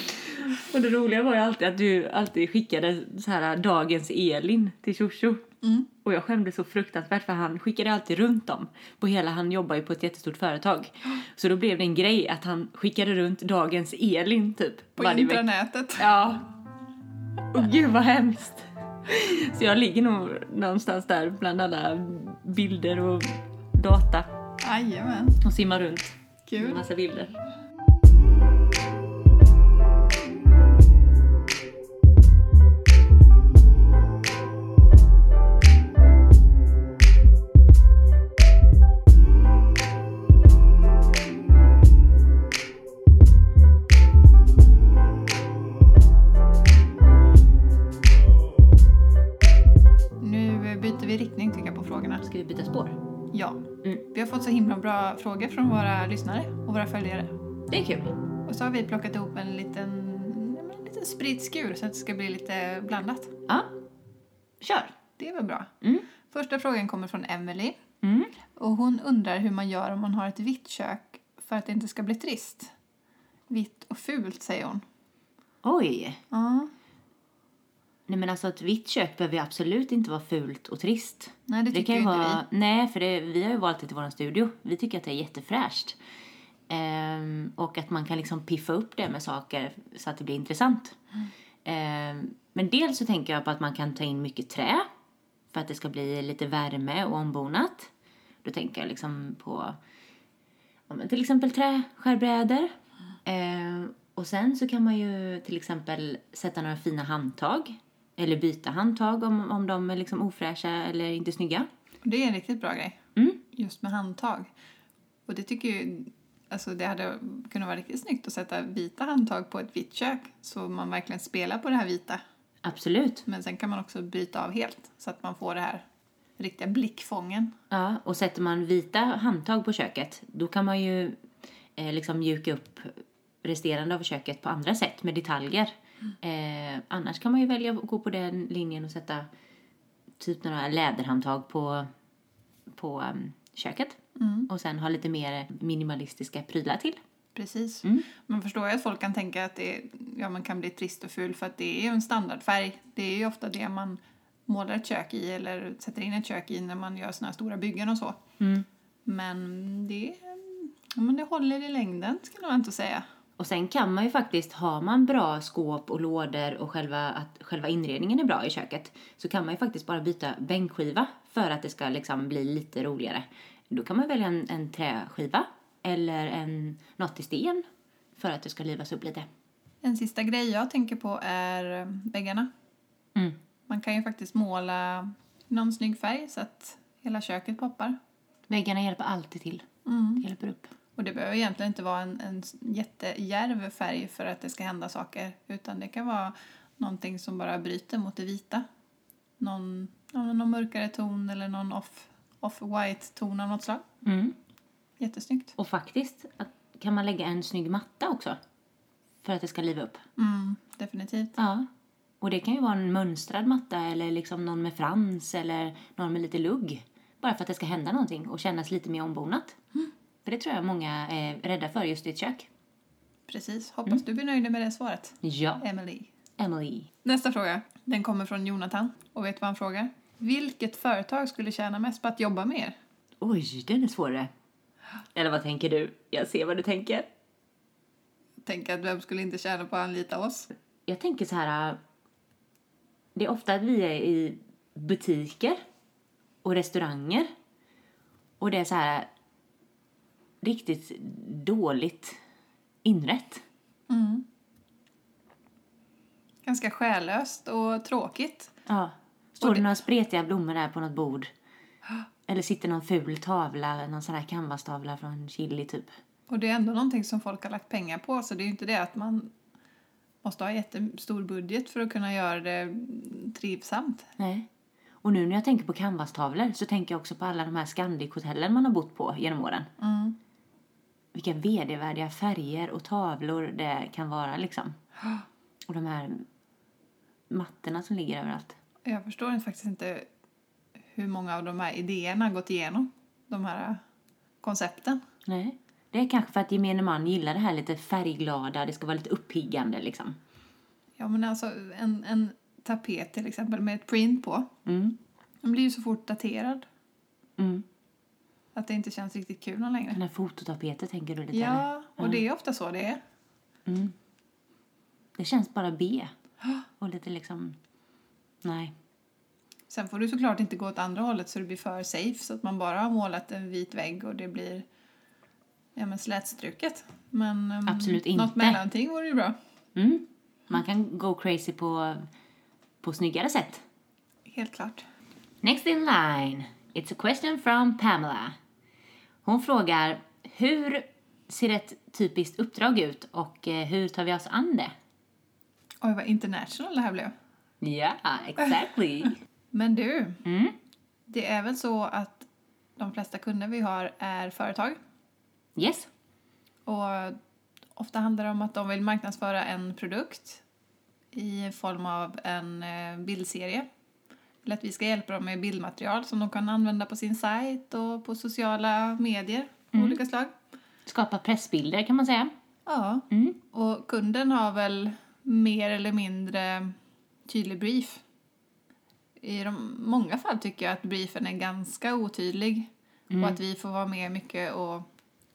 Speaker 1: Och det roliga var ju alltid att du alltid skickade så här dagens Elin till Shosho.
Speaker 2: Mm.
Speaker 1: Och jag skämdes så fruktansvärt för han skickade alltid runt dem. På hela, han jobbar ju på ett jättestort företag. Så då blev det en grej att han skickade runt dagens Elin typ.
Speaker 2: På
Speaker 1: varje vecka.
Speaker 2: intranätet.
Speaker 1: Ja. Och gud vad hemskt. Så jag ligger nog någonstans där bland alla bilder och data
Speaker 2: Jajamän.
Speaker 1: och simmar runt med
Speaker 2: Kul.
Speaker 1: massa bilder.
Speaker 2: Mm. vi riktning tycker jag på frågorna.
Speaker 1: Ska vi byta spår?
Speaker 2: Ja.
Speaker 1: Mm.
Speaker 2: Vi har fått så himla bra frågor från våra lyssnare och våra följare.
Speaker 1: Det är kul.
Speaker 2: Och så har vi plockat ihop en liten, ja, men en liten spritskur så att det ska bli lite blandat.
Speaker 1: Ja. Kör!
Speaker 2: Det är väl bra.
Speaker 1: Mm.
Speaker 2: Första frågan kommer från Emily.
Speaker 1: Mm.
Speaker 2: Och hon undrar hur man gör om man har ett vitt kök för att det inte ska bli trist. Vitt och fult, säger hon.
Speaker 1: Oj!
Speaker 2: Ja.
Speaker 1: Nej men alltså ett vitt kök behöver ju absolut inte vara fult och trist.
Speaker 2: Nej, det tycker
Speaker 1: kan ju
Speaker 2: ju inte
Speaker 1: vara... Nej, för det, vi har ju valt det till vår studio. Vi tycker att det är jättefräscht. Ehm, och att man kan liksom piffa upp det med saker så att det blir intressant. Ehm, men dels så tänker jag på att man kan ta in mycket trä för att det ska bli lite värme och ombonat. Då tänker jag liksom på ja, men till exempel träskärbrädor. Eh, och sen så kan man ju till exempel sätta några fina handtag. Eller byta handtag om, om de är liksom ofräscha eller inte snygga.
Speaker 2: Och Det är en riktigt bra grej.
Speaker 1: Mm.
Speaker 2: Just med handtag. Och det tycker ju... Alltså det hade kunnat vara riktigt snyggt att sätta vita handtag på ett vitt kök så man verkligen spelar på det här vita.
Speaker 1: Absolut.
Speaker 2: Men sen kan man också bryta av helt så att man får det här riktiga blickfången.
Speaker 1: Ja, och sätter man vita handtag på köket då kan man ju eh, liksom mjuka upp resterande av köket på andra sätt med detaljer. Eh, annars kan man ju välja att gå på den linjen och sätta typ några läderhandtag på, på em, köket. Och sen ha lite mer minimalistiska prylar till.
Speaker 2: Precis. Man förstår ju att folk kan tänka att det, ja, man kan bli trist och ful för att det är ju en standardfärg. Det är ju ofta det man målar ett kök i eller sätter in ett kök i när man gör såna här stora byggen och så.
Speaker 1: Mm.
Speaker 2: Men det, ja, men det håller i längden skulle jag inte säga.
Speaker 1: Och sen kan man ju faktiskt, har man bra skåp och lådor och själva, att själva inredningen är bra i köket, så kan man ju faktiskt bara byta bänkskiva för att det ska liksom bli lite roligare. Då kan man välja en, en träskiva eller en, något i sten för att det ska livas upp lite.
Speaker 2: En sista grej jag tänker på är eh, väggarna.
Speaker 1: Mm.
Speaker 2: Man kan ju faktiskt måla någon snygg färg så att hela köket poppar.
Speaker 1: Väggarna hjälper alltid till.
Speaker 2: Mm.
Speaker 1: Det hjälper upp.
Speaker 2: Och det behöver egentligen inte vara en, en jättejärv färg för att det ska hända saker. Utan det kan vara någonting som bara bryter mot det vita. Någon, ja, men någon mörkare ton eller någon off, off-white ton av något slag.
Speaker 1: Mm.
Speaker 2: Jättesnyggt.
Speaker 1: Och faktiskt att, kan man lägga en snygg matta också för att det ska liva upp.
Speaker 2: Mm, definitivt.
Speaker 1: Ja. Och det kan ju vara en mönstrad matta eller liksom någon med frans eller någon med lite lugg. Bara för att det ska hända någonting och kännas lite mer ombonat. För det tror jag många är rädda för just i ett kök.
Speaker 2: Precis. Hoppas du blir nöjd med det svaret,
Speaker 1: Ja,
Speaker 2: Emily.
Speaker 1: Emily.
Speaker 2: Nästa fråga. Den kommer från Jonathan. Och vet du vad han frågar? Vilket företag skulle tjäna mest på att jobba med er?
Speaker 1: Oj, den är svårare. Eller vad tänker du? Jag ser vad du tänker.
Speaker 2: Tänk att vem skulle inte tjäna på att anlita oss?
Speaker 1: Jag tänker så här... äh, Det är ofta att vi är i butiker och restauranger. Och det är så här äh, riktigt dåligt inrett.
Speaker 2: Mm. Ganska själlöst och tråkigt.
Speaker 1: Ja.
Speaker 2: Och
Speaker 1: Står
Speaker 2: det-
Speaker 1: det några spretiga blommor där på något bord? Eller sitter någon ful tavla, någon sån här canvastavla från Chili typ?
Speaker 2: Och det är ändå någonting som folk har lagt pengar på så det är ju inte det att man måste ha jättestor budget för att kunna göra det trivsamt.
Speaker 1: Nej. Och nu när jag tänker på canvastavlor så tänker jag också på alla de här Scandic-hotellen man har bott på genom åren.
Speaker 2: Mm.
Speaker 1: Vilka vedervärdiga färger och tavlor det kan vara liksom. Och de här mattorna som ligger överallt.
Speaker 2: Jag förstår faktiskt inte hur många av de här idéerna har gått igenom. De här koncepten.
Speaker 1: Nej. Det är kanske för att gemene man gillar det här lite färgglada, det ska vara lite uppiggande liksom.
Speaker 2: Ja men alltså en, en tapet till exempel med ett print på.
Speaker 1: Mm.
Speaker 2: Den blir ju så fort daterad
Speaker 1: Mm.
Speaker 2: att det inte känns riktigt kul någon längre.
Speaker 1: Den här fototapetet tänker du lite eller?
Speaker 2: Ja, och det är ofta så det är.
Speaker 1: Mm. Det känns bara B. Och lite liksom... Nej.
Speaker 2: Sen får du såklart inte gå åt andra hållet så det blir för safe så att man bara har målat en vit vägg och det blir ja, men slätstruket. Men um,
Speaker 1: Absolut
Speaker 2: något
Speaker 1: inte.
Speaker 2: mellanting vore ju bra.
Speaker 1: Mm. Man kan go crazy på, på snyggare sätt.
Speaker 2: Helt klart.
Speaker 1: Next in line. It's a question from Pamela. Hon frågar hur ser ett typiskt uppdrag ut och eh, hur tar vi oss an det?
Speaker 2: Oj, vad international det här blev. *laughs*
Speaker 1: Ja, exactly.
Speaker 2: Men du,
Speaker 1: Mm.
Speaker 2: Det är väl så att de flesta kunder vi har är företag.
Speaker 1: Yes.
Speaker 2: Och ofta handlar det om att de vill marknadsföra en produkt i form av en eh, bildserie. Eller att vi ska hjälpa dem med bildmaterial som de kan använda på sin sajt och på sociala medier av olika slag.
Speaker 1: Skapa pressbilder kan man säga.
Speaker 2: Ja,
Speaker 1: Mm.
Speaker 2: och kunden har väl mer eller mindre tydlig brief. I de, många fall tycker jag att briefen är ganska otydlig och att vi får vara med mycket och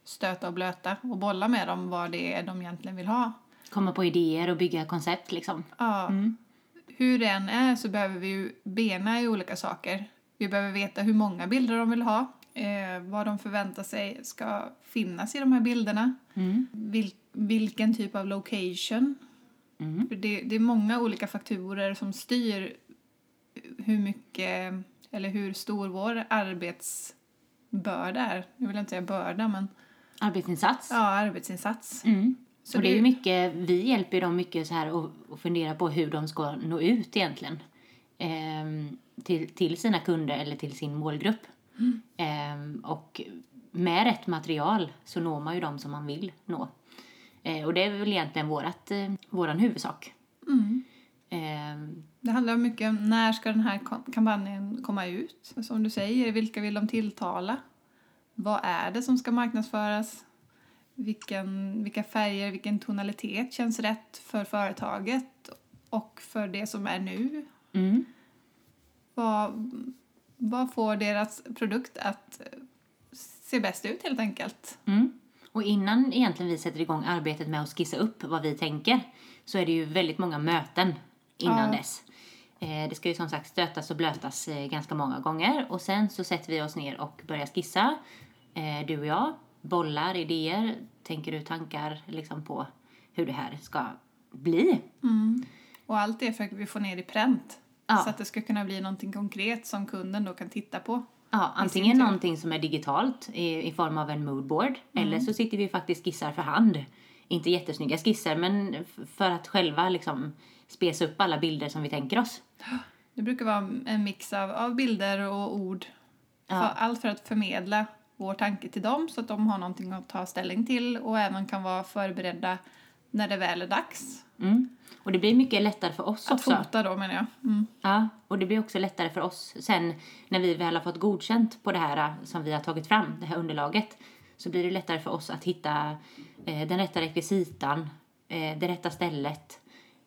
Speaker 2: stöta och blöta och bolla med dem vad det är de egentligen vill ha.
Speaker 1: Komma på idéer och bygga koncept liksom.
Speaker 2: Ja. Hur det än är så behöver vi ju bena i olika saker. Vi behöver veta hur många bilder de vill ha, eh, vad de förväntar sig ska finnas i de här bilderna,
Speaker 1: Mm.
Speaker 2: vil- vilken typ av location.
Speaker 1: Mm.
Speaker 2: För Det, det är många olika faktorer som styr hur mycket eller hur stor vår arbetsbörda är. Jag vill inte säga börda, men
Speaker 1: Arbetsinsats.
Speaker 2: ja, arbetsinsats.
Speaker 1: Mm.
Speaker 2: Så
Speaker 1: och det är
Speaker 2: det-
Speaker 1: ju mycket, vi hjälper ju dem mycket så här och, och fundera på hur de ska nå ut egentligen. Ehm, till, till sina kunder eller till sin målgrupp. Ehm, och med rätt material så når man ju dem som man vill nå. Eh, och det är väl egentligen vårat, eh, våran huvudsak. Ehm,
Speaker 2: Det handlar mycket om när ska den här kom- kampanjen komma ut? Som du säger, vilka vill de tilltala? Vad är det som ska marknadsföras? Vilken, vilka färger, vilken tonalitet känns rätt för företaget och för det som är nu?
Speaker 1: mm.
Speaker 2: Vad, vad får deras produkt att se bäst ut helt enkelt?
Speaker 1: Mm. Och innan egentligen vi sätter igång arbetet med att skissa upp vad vi tänker så är det ju väldigt många möten innan
Speaker 2: Ja.
Speaker 1: dess. Eh, det ska ju som sagt stötas och blötas eh, ganska många gånger och sen så sätter vi oss ner och börjar skissa, eh, du och jag, bollar idéer, tänker ut tankar liksom på hur det här ska bli.
Speaker 2: Och allt det för att vi får ner i pränt.
Speaker 1: Ja.
Speaker 2: Så att det ska kunna bli någonting konkret som kunden då kan titta på.
Speaker 1: Ja,
Speaker 2: sin
Speaker 1: antingen
Speaker 2: tur. Mm.
Speaker 1: någonting som är digitalt i, i form av en moodboard eller så sitter vi faktiskt skissar för hand. Inte jättesnygga skisser men f- för att själva liksom spesa upp alla bilder som vi tänker oss.
Speaker 2: Det brukar vara en mix av, av bilder och ord. För, allt för att förmedla vår tanke till dem så att de har någonting att ta ställning till och även kan vara förberedda när det väl är dags.
Speaker 1: Mm. Och det blir mycket lättare för oss
Speaker 2: Att
Speaker 1: också.
Speaker 2: fota då menar jag. Mm.
Speaker 1: Ja, och det blir också lättare för oss sen när vi väl har fått godkänt på det här eh, som vi har tagit fram, det här underlaget, så blir det lättare för oss att hitta eh, den rätta rekvisitan, eh, det rätta stället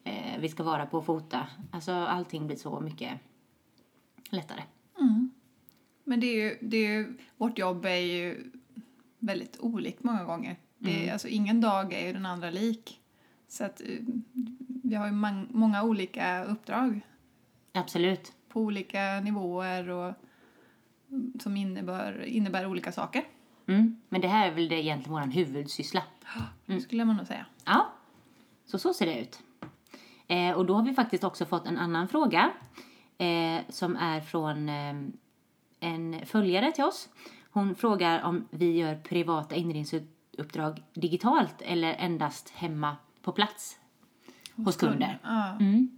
Speaker 1: eh, vi ska vara på och fota. Alltså allting blir så mycket lättare.
Speaker 2: Men det är ju, det är ju, vårt jobb är ju väldigt olikt många gånger. Det är, alltså, ingen dag är ju den andra lik. Så att eh, vi har ju man, många olika uppdrag
Speaker 1: Absolut.
Speaker 2: på olika nivåer och mm, som innebär, innebär olika saker.
Speaker 1: Mm. Men det här är väl det egentligen vår huvudsyssla. Mm.
Speaker 2: Skulle man nog säga.
Speaker 1: Ja, så så ser det ut. Eh, och då har vi faktiskt också fått en annan fråga eh, som är från eh, en följare till oss. Hon frågar om vi gör privata inredningsuppdrag digitalt eller endast hemma på plats hos kunder.
Speaker 2: Ja.
Speaker 1: Mm.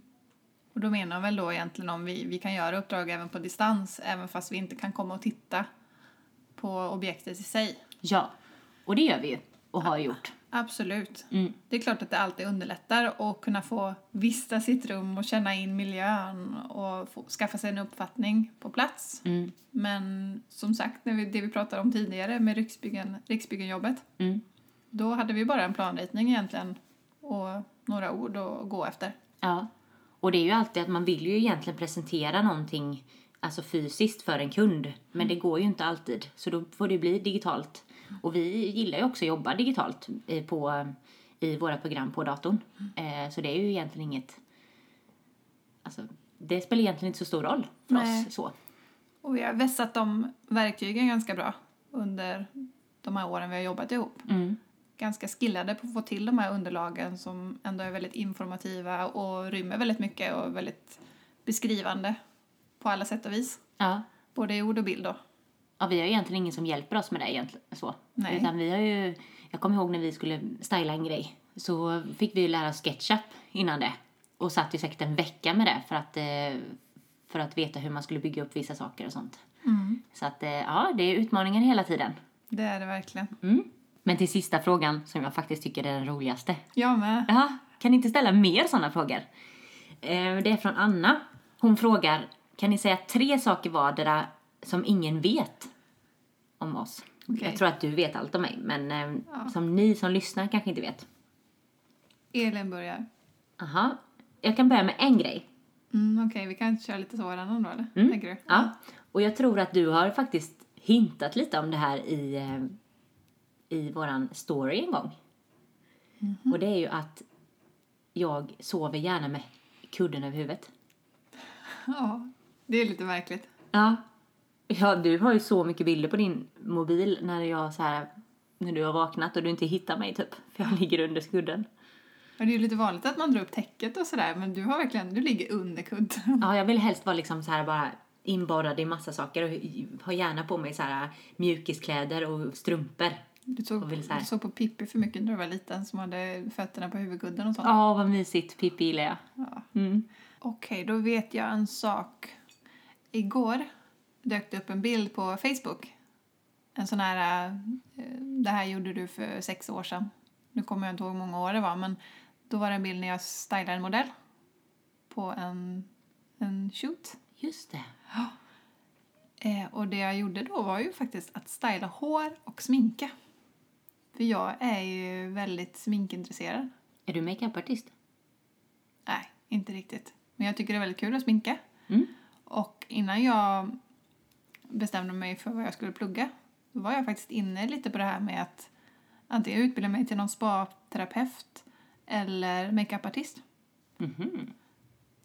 Speaker 2: Och då menar jag väl då egentligen om vi, vi kan göra uppdrag även på distans även fast vi inte kan komma och titta på objektet i sig.
Speaker 1: Ja, och det gör vi ju och har gjort.
Speaker 2: Absolut.
Speaker 1: Mm.
Speaker 2: Det är klart att det alltid underlättar att kunna få vistas i ett rum och känna in miljön och få, skaffa sig en uppfattning på plats.
Speaker 1: Mm.
Speaker 2: Men som sagt, när vi, det vi pratade om tidigare med Riksbyggen, Riksbyggenjobbet,
Speaker 1: Mm.
Speaker 2: då hade vi bara en planritning egentligen och några ord att gå efter.
Speaker 1: Ja, och det är ju alltid att man vill ju egentligen presentera någonting alltså fysiskt för en kund, men det går ju inte alltid, så då får det bli digitalt. Och vi gillar ju också att jobba digitalt i, på, i våra program på datorn, eh, så det är ju egentligen inget... Alltså, det spelar egentligen inte så stor roll för
Speaker 2: Nej.
Speaker 1: oss. så.
Speaker 2: Och vi har vässat de verktygen ganska bra under de här åren vi har jobbat ihop.
Speaker 1: Mm.
Speaker 2: Ganska skillade på att få till de här underlagen som ändå är väldigt informativa och rymmer väldigt mycket och väldigt beskrivande på alla sätt och vis.
Speaker 1: Ja.
Speaker 2: Både i ord och bild då.
Speaker 1: Ja, vi har ju egentligen ingen som hjälper oss med det egentligen. Så.
Speaker 2: Nej.
Speaker 1: Utan vi har ju, jag kommer ihåg när vi skulle styla en grej så fick vi ju lära oss SketchUp innan det. Och satt ju säkert en vecka med det för att, eh, för att veta hur man skulle bygga upp vissa saker och sånt.
Speaker 2: Mm. Mm.
Speaker 1: Så att, eh, ja, det är utmaningen hela tiden.
Speaker 2: Det är det verkligen.
Speaker 1: Mm. Men till sista frågan, som jag faktiskt tycker är den roligaste.
Speaker 2: Jag med.
Speaker 1: Ja, kan ni inte ställa mer sådana frågor? Eh, det är från Anna. Hon frågar, kan ni säga tre saker vardera som ingen vet om oss?
Speaker 2: Okej.
Speaker 1: Jag tror att du vet allt om mig, men eh,
Speaker 2: Ja.
Speaker 1: som ni som lyssnar kanske inte vet.
Speaker 2: Elin börjar.
Speaker 1: Aha. Jag kan börja med en grej.
Speaker 2: Mm, Okej, vi kan köra lite så varannan då eller?
Speaker 1: Mm.
Speaker 2: Tänker du?
Speaker 1: Ja. Och jag tror att du har faktiskt hintat lite om det här i, eh, i våran story en gång. Och det är ju att jag sover gärna med kudden över huvudet.
Speaker 2: *laughs* Ja. Det är lite märkligt.
Speaker 1: Ja. Ja, du har ju så mycket bilder på din mobil när jag så här, när du har vaknat och du inte hittar mig typ. För jag ligger under kudden.
Speaker 2: Men det är ju lite vanligt att man drar upp täcket och sådär men du har verkligen, du ligger under kudden.
Speaker 1: Ja, jag vill helst vara liksom så här bara inbadad i massa saker och ha gärna på mig så här mjukiskläder och strumpor.
Speaker 2: Du såg,
Speaker 1: Och vill så här-
Speaker 2: du såg på Pippi för mycket när du var liten som hade fötterna på huvudkudden och sånt.
Speaker 1: Ja, vad mysigt. Pippi gillar jag. Mm.
Speaker 2: Okej, då vet jag en sak. Igår dök det upp en bild på Facebook. En sån här, eh, det här gjorde du för sex år sedan. Nu kommer jag inte ihåg hur många år det var, men då var det en bild när jag stylade en modell på en, en shoot.
Speaker 1: Just det.
Speaker 2: Eh, och det jag gjorde då var ju faktiskt att styla hår och sminka. För jag är ju väldigt sminkintresserad.
Speaker 1: Är du makeupartist?
Speaker 2: Nej, inte riktigt. Men jag tycker det är väldigt kul att sminka.
Speaker 1: Mm.
Speaker 2: Och innan jag bestämde mig för vad jag skulle plugga då var jag faktiskt inne lite på det här med att antingen utbilda mig till någon spa-terapeut eller makeupartist.
Speaker 1: Mhm.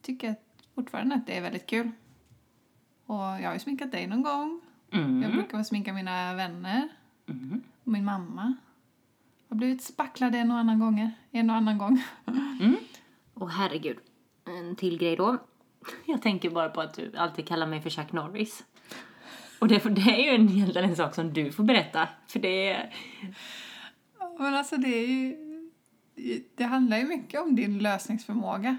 Speaker 2: Tycker jag fortfarande att det är väldigt kul. Och jag har ju sminkat dig någon gång. Jag
Speaker 1: Mm.
Speaker 2: brukar sminka mina vänner
Speaker 1: Mhm.
Speaker 2: och min mamma. Jag har blivit spacklad en och annan gånger. En och annan gång. *laughs*
Speaker 1: Och herregud, en till grej då. Jag tänker bara på att du alltid kallar mig för Chuck Norris. Och det, det är ju en, egentligen en sak som du får berätta. För det är...
Speaker 2: Men alltså det är ju... Det handlar ju mycket om din lösningsförmåga.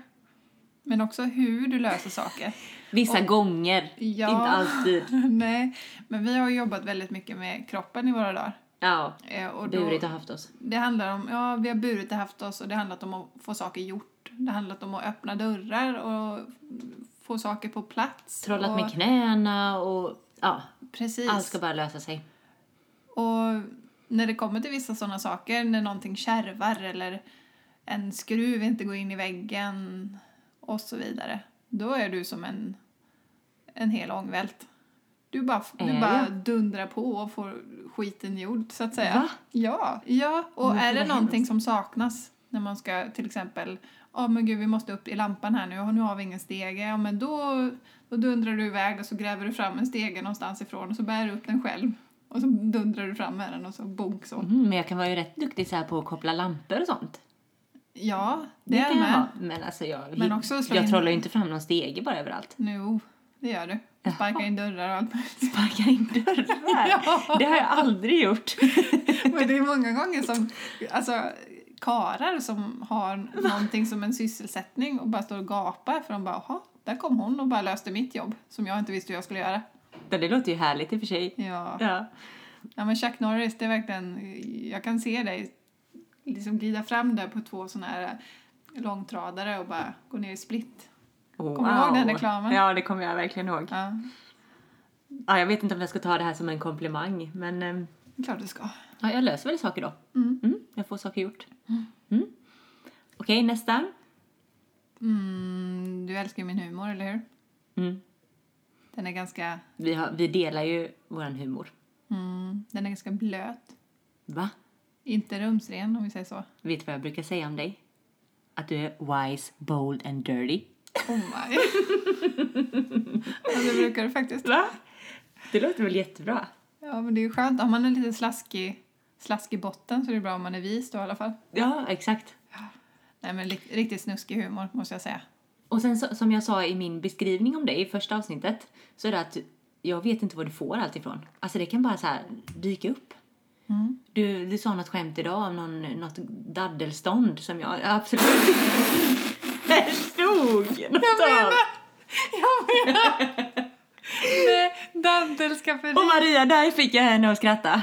Speaker 2: Men också hur du löser saker.
Speaker 1: Vissa gånger,
Speaker 2: Ja.
Speaker 1: *laughs* inte alltid.
Speaker 2: *laughs* Nej, men vi har ju jobbat väldigt mycket med kroppen i våra dagar.
Speaker 1: Ja,
Speaker 2: Eh, Och då,
Speaker 1: burit och haft oss.
Speaker 2: det handlar om, ja vi har burit och haft oss och det har handlat om att få saker gjort. Det har handlat om att öppna dörrar och få saker på plats.
Speaker 1: Trollat
Speaker 2: och,
Speaker 1: med knäna och... Ja,
Speaker 2: Precis.
Speaker 1: allt ska bara lösa sig.
Speaker 2: Och när det kommer till vissa sådana saker, när någonting kärvar eller en skruv inte går in i väggen och så vidare, då är du som en, en hel ångvält. Du bara,
Speaker 1: Är
Speaker 2: du bara
Speaker 1: jag?
Speaker 2: dundrar på och får skiten gjord, så att säga.
Speaker 1: Va?
Speaker 2: Ja, ja. och
Speaker 1: Men
Speaker 2: är
Speaker 1: vad
Speaker 2: det någonting
Speaker 1: hemskt.
Speaker 2: som saknas när man ska till exempel Ja men gud vi måste upp i lampan här nu och nu har vi ingen stege. Ja men då, då dundrar du iväg och så gräver du fram en stege någonstans ifrån och så bär du upp den själv. Och så dundrar du fram med den och så bonk så.
Speaker 1: Mm, men jag kan vara ju rätt duktig så här på att koppla lampor och sånt.
Speaker 2: Ja, det,
Speaker 1: Det,
Speaker 2: är
Speaker 1: kan jag
Speaker 2: med.
Speaker 1: vara. Men alltså jag,
Speaker 2: Men också slå
Speaker 1: jag
Speaker 2: in-
Speaker 1: trollar ju inte fram någon stege bara överallt.
Speaker 2: Nu, det gör du. Du Sparkar in dörrar och allt möjligt.
Speaker 1: sparka in dörrar.
Speaker 2: *laughs* Ja.
Speaker 1: Det har jag aldrig gjort. *laughs*
Speaker 2: Men det är många gånger som alltså, karar som har någonting som en sysselsättning och bara står och gapar för de bara jaha, där kom hon och bara löste mitt jobb som jag inte visste hur jag skulle göra.
Speaker 1: Men det låter ju härligt i och för sig.
Speaker 2: Ja.
Speaker 1: Ja.
Speaker 2: Ja men Chuck Norris, det är verkligen, jag kan se dig liksom glida fram där på två sådana här eh, långtradare och bara gå ner i split. Kommer du ihåg den reklamen?
Speaker 1: Ja, det kommer jag verkligen ihåg.
Speaker 2: Ja,
Speaker 1: Ja, jag vet inte om jag ska ta det här som en komplimang, men ehm,
Speaker 2: det är klart du ska.
Speaker 1: ja, jag löser väl saker då.
Speaker 2: Mm.
Speaker 1: jag får saker gjort. Mm. Okej, nästa.
Speaker 2: Mm, du älskar ju min humor, eller hur?
Speaker 1: Mm.
Speaker 2: Den är ganska,
Speaker 1: Vi, har, vi delar ju våran humor.
Speaker 2: mm, den är ganska blöt.
Speaker 1: Va?
Speaker 2: Inte rumsren om vi säger så.
Speaker 1: Vet du vad jag brukar säga om dig? Att du är wise, bold and dirty.
Speaker 2: Oh my. ja, det brukar du faktiskt.
Speaker 1: Va? Det låter väl jättebra?
Speaker 2: Ja, men det är ju skönt. Om man är lite slaskig, slaskig botten så är det bra om man är vis då i alla fall.
Speaker 1: Ja, exakt.
Speaker 2: Nej, men li- riktigt snuskig humor måste jag säga.
Speaker 1: Och sen så, som jag sa i min beskrivning om dig i första avsnittet så är det att jag vet inte var du får allt ifrån. Alltså det kan bara så här dyka upp.
Speaker 2: Mm.
Speaker 1: Du, du sa något skämt idag om någon, något daddelstånd som jag absolut inte
Speaker 2: *laughs*
Speaker 1: förstod något av.
Speaker 2: Jag menar... Nej, Dantelska för
Speaker 1: Och Maria, där fick jag henne att skratta.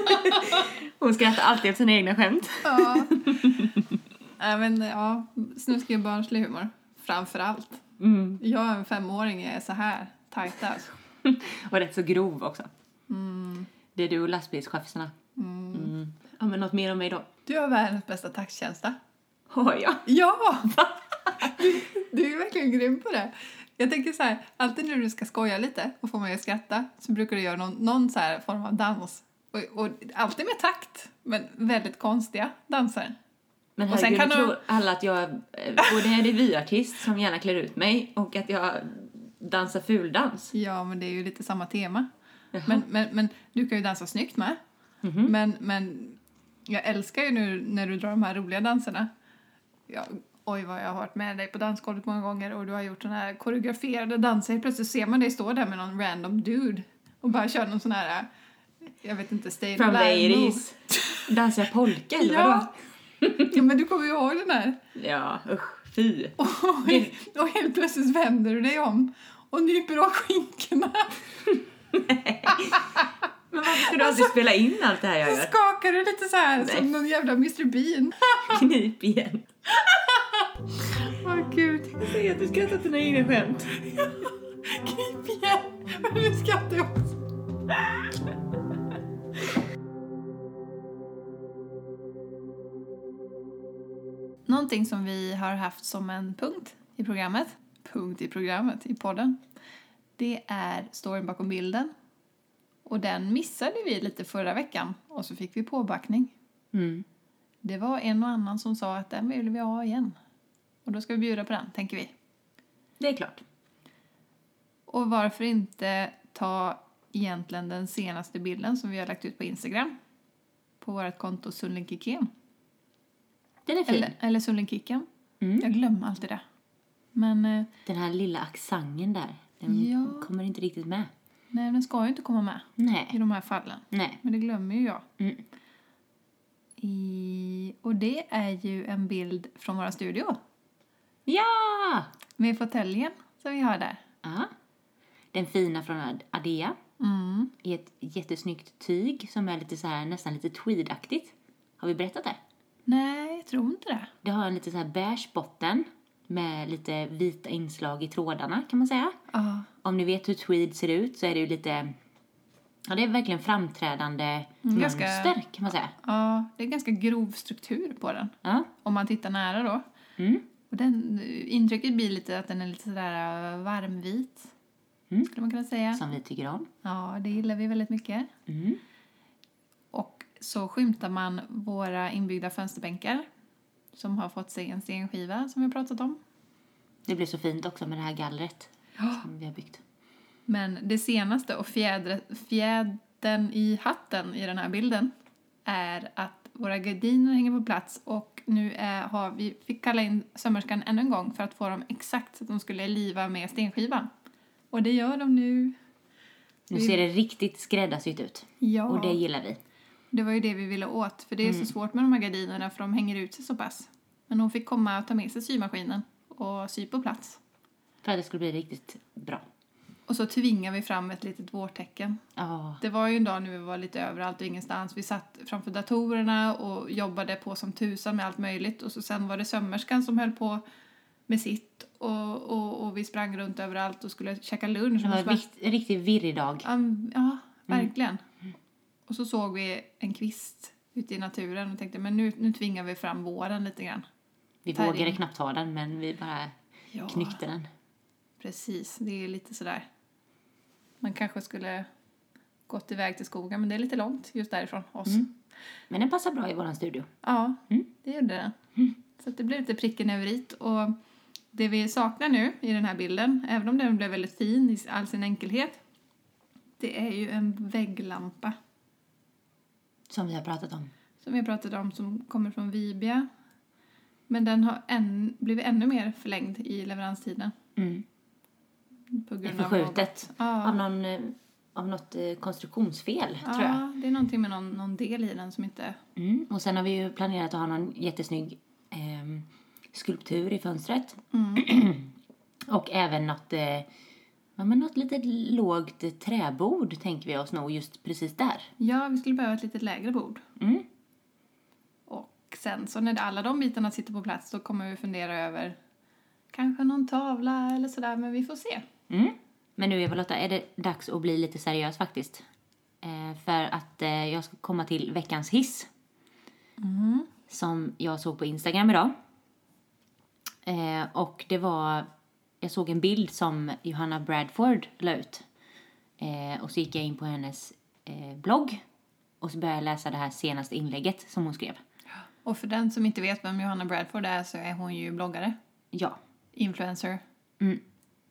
Speaker 1: *laughs* Hon skrattar alltid åt sina egna skämt. *laughs*
Speaker 2: Ja. Nej, men ja, snusk är ju barnslig humor. Framför allt.
Speaker 1: Mm.
Speaker 2: Jag är en femåring, jag är så här tajta. alltså.
Speaker 1: Och rätt så grov också.
Speaker 2: Mm.
Speaker 1: Det är du och lastbilschaffisarna. Mm. Ja, men något mer om mig då?
Speaker 2: Du har världens bästa taxtjänsta.
Speaker 1: Har jag?
Speaker 2: *laughs* Ja! Du, du är verkligen grym på det. Jag tänker så här, alltid när du ska skoja lite och få mig att skratta så brukar du göra någon, någon så här form av dans. Och, och alltid med takt, men väldigt konstiga danser.
Speaker 1: Men
Speaker 2: Och sen
Speaker 1: herregud,
Speaker 2: kan
Speaker 1: nu
Speaker 2: du-
Speaker 1: tror alla att jag eh, både är revyartist som gärna klär ut mig och att jag dansar fuldans.
Speaker 2: Ja, men det är ju lite samma tema. Men, men, men du kan ju dansa snyggt med.
Speaker 1: Mhm.
Speaker 2: Men, men jag älskar ju nu när du drar de här roliga danserna. Ja, oj, vad jag har varit med dig på dansgolvet många gånger och du har gjort såna här koreograferade danser. Plötsligt ser man dig stå där med någon random dude och bara kör någon sån här, jag vet inte, stay
Speaker 1: From the
Speaker 2: alive move.
Speaker 1: 80s. Dansar jag polka eller vadå?
Speaker 2: Ja.
Speaker 1: *laughs*
Speaker 2: ja, men du kommer ju ihåg den här.
Speaker 1: Ja, usch, fy.
Speaker 2: *laughs* Och, och helt plötsligt vänder du dig om och nyper av skinkorna.
Speaker 1: Men varför ska
Speaker 2: alltså-
Speaker 1: du alltid spela in allt det här jag
Speaker 2: Så *laughs*
Speaker 1: gör?
Speaker 2: skakar du lite så här
Speaker 1: Nej.
Speaker 2: som någon jävla Mr Bean.
Speaker 1: Knip igen.
Speaker 2: Åh gud,
Speaker 1: Jag säger att du
Speaker 2: *laughs*
Speaker 1: skrattar åt dina egna skämt.
Speaker 2: knip igen! Men nu skrattar jag också. Någonting som vi har haft som en punkt i programmet, punkt i programmet, i podden, det är storyn bakom bilden. Och den missade vi lite förra veckan och så fick vi påbackning.
Speaker 1: Mm.
Speaker 2: Det var en och annan som sa att den vill vi ha igen. Och då ska vi bjuda på den, tänker vi.
Speaker 1: Det är klart.
Speaker 2: Och varför inte ta egentligen den senaste bilden som vi har lagt ut på Instagram? På vårt konto Sunlinkiken.
Speaker 1: Den är fin.
Speaker 2: Eller, eller Sunlinkiken.
Speaker 1: Mm.
Speaker 2: Jag glömmer alltid det. Men eh,
Speaker 1: Den här lilla accenten där, den
Speaker 2: Ja.
Speaker 1: kommer inte riktigt med.
Speaker 2: nej, den ska ju inte komma med i
Speaker 1: Nej.
Speaker 2: de här fallen.
Speaker 1: Nej.
Speaker 2: Men det glömmer ju jag.
Speaker 1: Mm.
Speaker 2: I, och det är ju en bild från vår studio.
Speaker 1: Ja!
Speaker 2: Med fåtöljen som vi har där.
Speaker 1: Ja. Den fina från Ad- Adea
Speaker 2: Mm.
Speaker 1: i ett jättesnyggt tyg som är lite så här, nästan lite tweedaktigt. Har vi berättat det?
Speaker 2: Nej, jag tror inte det.
Speaker 1: Det har en lite så här beige botten med lite vita inslag i trådarna kan man säga.
Speaker 2: Ja.
Speaker 1: Om ni vet hur tweed ser ut så är det ju lite, ja det är verkligen framträdande
Speaker 2: Mm, ganska-
Speaker 1: mönster kan man säga.
Speaker 2: Ja, det är ganska grov struktur på den.
Speaker 1: Ja.
Speaker 2: Om man tittar nära då.
Speaker 1: Mm.
Speaker 2: Och den, intrycket blir lite att den är lite sådär eh, varmvit.
Speaker 1: Mm.
Speaker 2: Skulle man kunna säga.
Speaker 1: Som vi tycker om.
Speaker 2: Ja, det gillar vi väldigt mycket.
Speaker 1: Mm.
Speaker 2: Och så skymtar man våra inbyggda fönsterbänkar. Som har fått sig en stenskiva som vi har pratat om.
Speaker 1: Det blir så fint också med det här gallret
Speaker 2: Ja.
Speaker 1: som vi har byggt.
Speaker 2: Men det senaste och fjädre, fjädern i hatten i den här bilden är att våra gardiner hänger på plats och nu är, har vi fick kalla in sömmerskan ännu en gång för att få dem exakt så att de skulle liva med stenskivan. Och det gör de nu.
Speaker 1: Nu
Speaker 2: Vi-
Speaker 1: ser det riktigt skräddarsytt ut.
Speaker 2: Ja.
Speaker 1: Och det Mm.
Speaker 2: det...
Speaker 1: gillar vi.
Speaker 2: var ju det vi ville åt för det är så svårt med de här gardinerna för de hänger ut sig så pass. Men hon fick komma och ta med sig symaskinen och sy på plats.
Speaker 1: För att det skulle bli riktigt bra.
Speaker 2: Och så tvingar vi fram ett litet vårtecken
Speaker 1: Ja.
Speaker 2: Det var ju en dag när vi var lite överallt och ingenstans. Vi satt framför datorerna och jobbade på som tusan med allt möjligt. Och så sen var det sömmerskan som höll på med sitt. Och, och, och vi sprang runt överallt och skulle käka lunch.
Speaker 1: Det
Speaker 2: Och
Speaker 1: var Mm.
Speaker 2: så
Speaker 1: en
Speaker 2: bara,
Speaker 1: rikt- en riktigt virrig dag.
Speaker 2: ja, ja, verkligen. Och så såg vi en kvist ute i naturen och tänkte men nu, nu tvingar vi fram våren lite grann.
Speaker 1: Vi
Speaker 2: där
Speaker 1: vågade
Speaker 2: in.
Speaker 1: knappt ta den men vi bara
Speaker 2: Ja,
Speaker 1: knyckte den.
Speaker 2: precis. Det är lite sådär. Man kanske skulle gått iväg till skogen men det är lite långt just därifrån oss.
Speaker 1: Mm. Men den passar bra i våran studio.
Speaker 2: Ja,
Speaker 1: Mm.
Speaker 2: det gjorde den. Så att det blev lite pricken över i. Och det vi saknar nu i den här bilden, även om den blev väldigt fin i all sin enkelhet, det är ju en vägglampa
Speaker 1: Som vi har pratat om.
Speaker 2: som vi pratade om som kommer från Vibia. Men den har än, blivit ännu mer förlängd i leveranstiden.
Speaker 1: Mm. Det
Speaker 2: På
Speaker 1: är
Speaker 2: grund av
Speaker 1: förskjutet.
Speaker 2: något. Ja.
Speaker 1: Av, någon, eh, av något eh, konstruktionsfel tror jag.
Speaker 2: Ja, det är någonting med någon, någon del i den som inte...
Speaker 1: Mm. Och sen har vi ju planerat att ha någon jättesnygg ehm,
Speaker 2: Mm.
Speaker 1: skulptur i fönstret. Och även något eh, Ja, men något litet lågt träbord tänker vi oss nog just precis där.
Speaker 2: Ja, vi skulle behöva ett lite lägre bord.
Speaker 1: Mm.
Speaker 2: Och sen så när alla de bitarna sitter på plats då kommer vi fundera över kanske någon tavla eller sådär, men vi får se.
Speaker 1: Mm. Men nu Eva Lotta, är det dags att bli lite seriös faktiskt. Eh, för att eh, jag ska komma till veckans hiss.
Speaker 2: Mm.
Speaker 1: Som jag såg på Instagram idag. Eh, och det var, jag såg en bild som Johanna Bradford la ut. Eh, och så gick jag in på hennes eh, blogg. Och så började jag läsa det här senaste inlägget som hon skrev.
Speaker 2: Och för den som inte vet vem Johanna Bradford är så är hon ju bloggare,
Speaker 1: Ja.
Speaker 2: influencer
Speaker 1: Mm.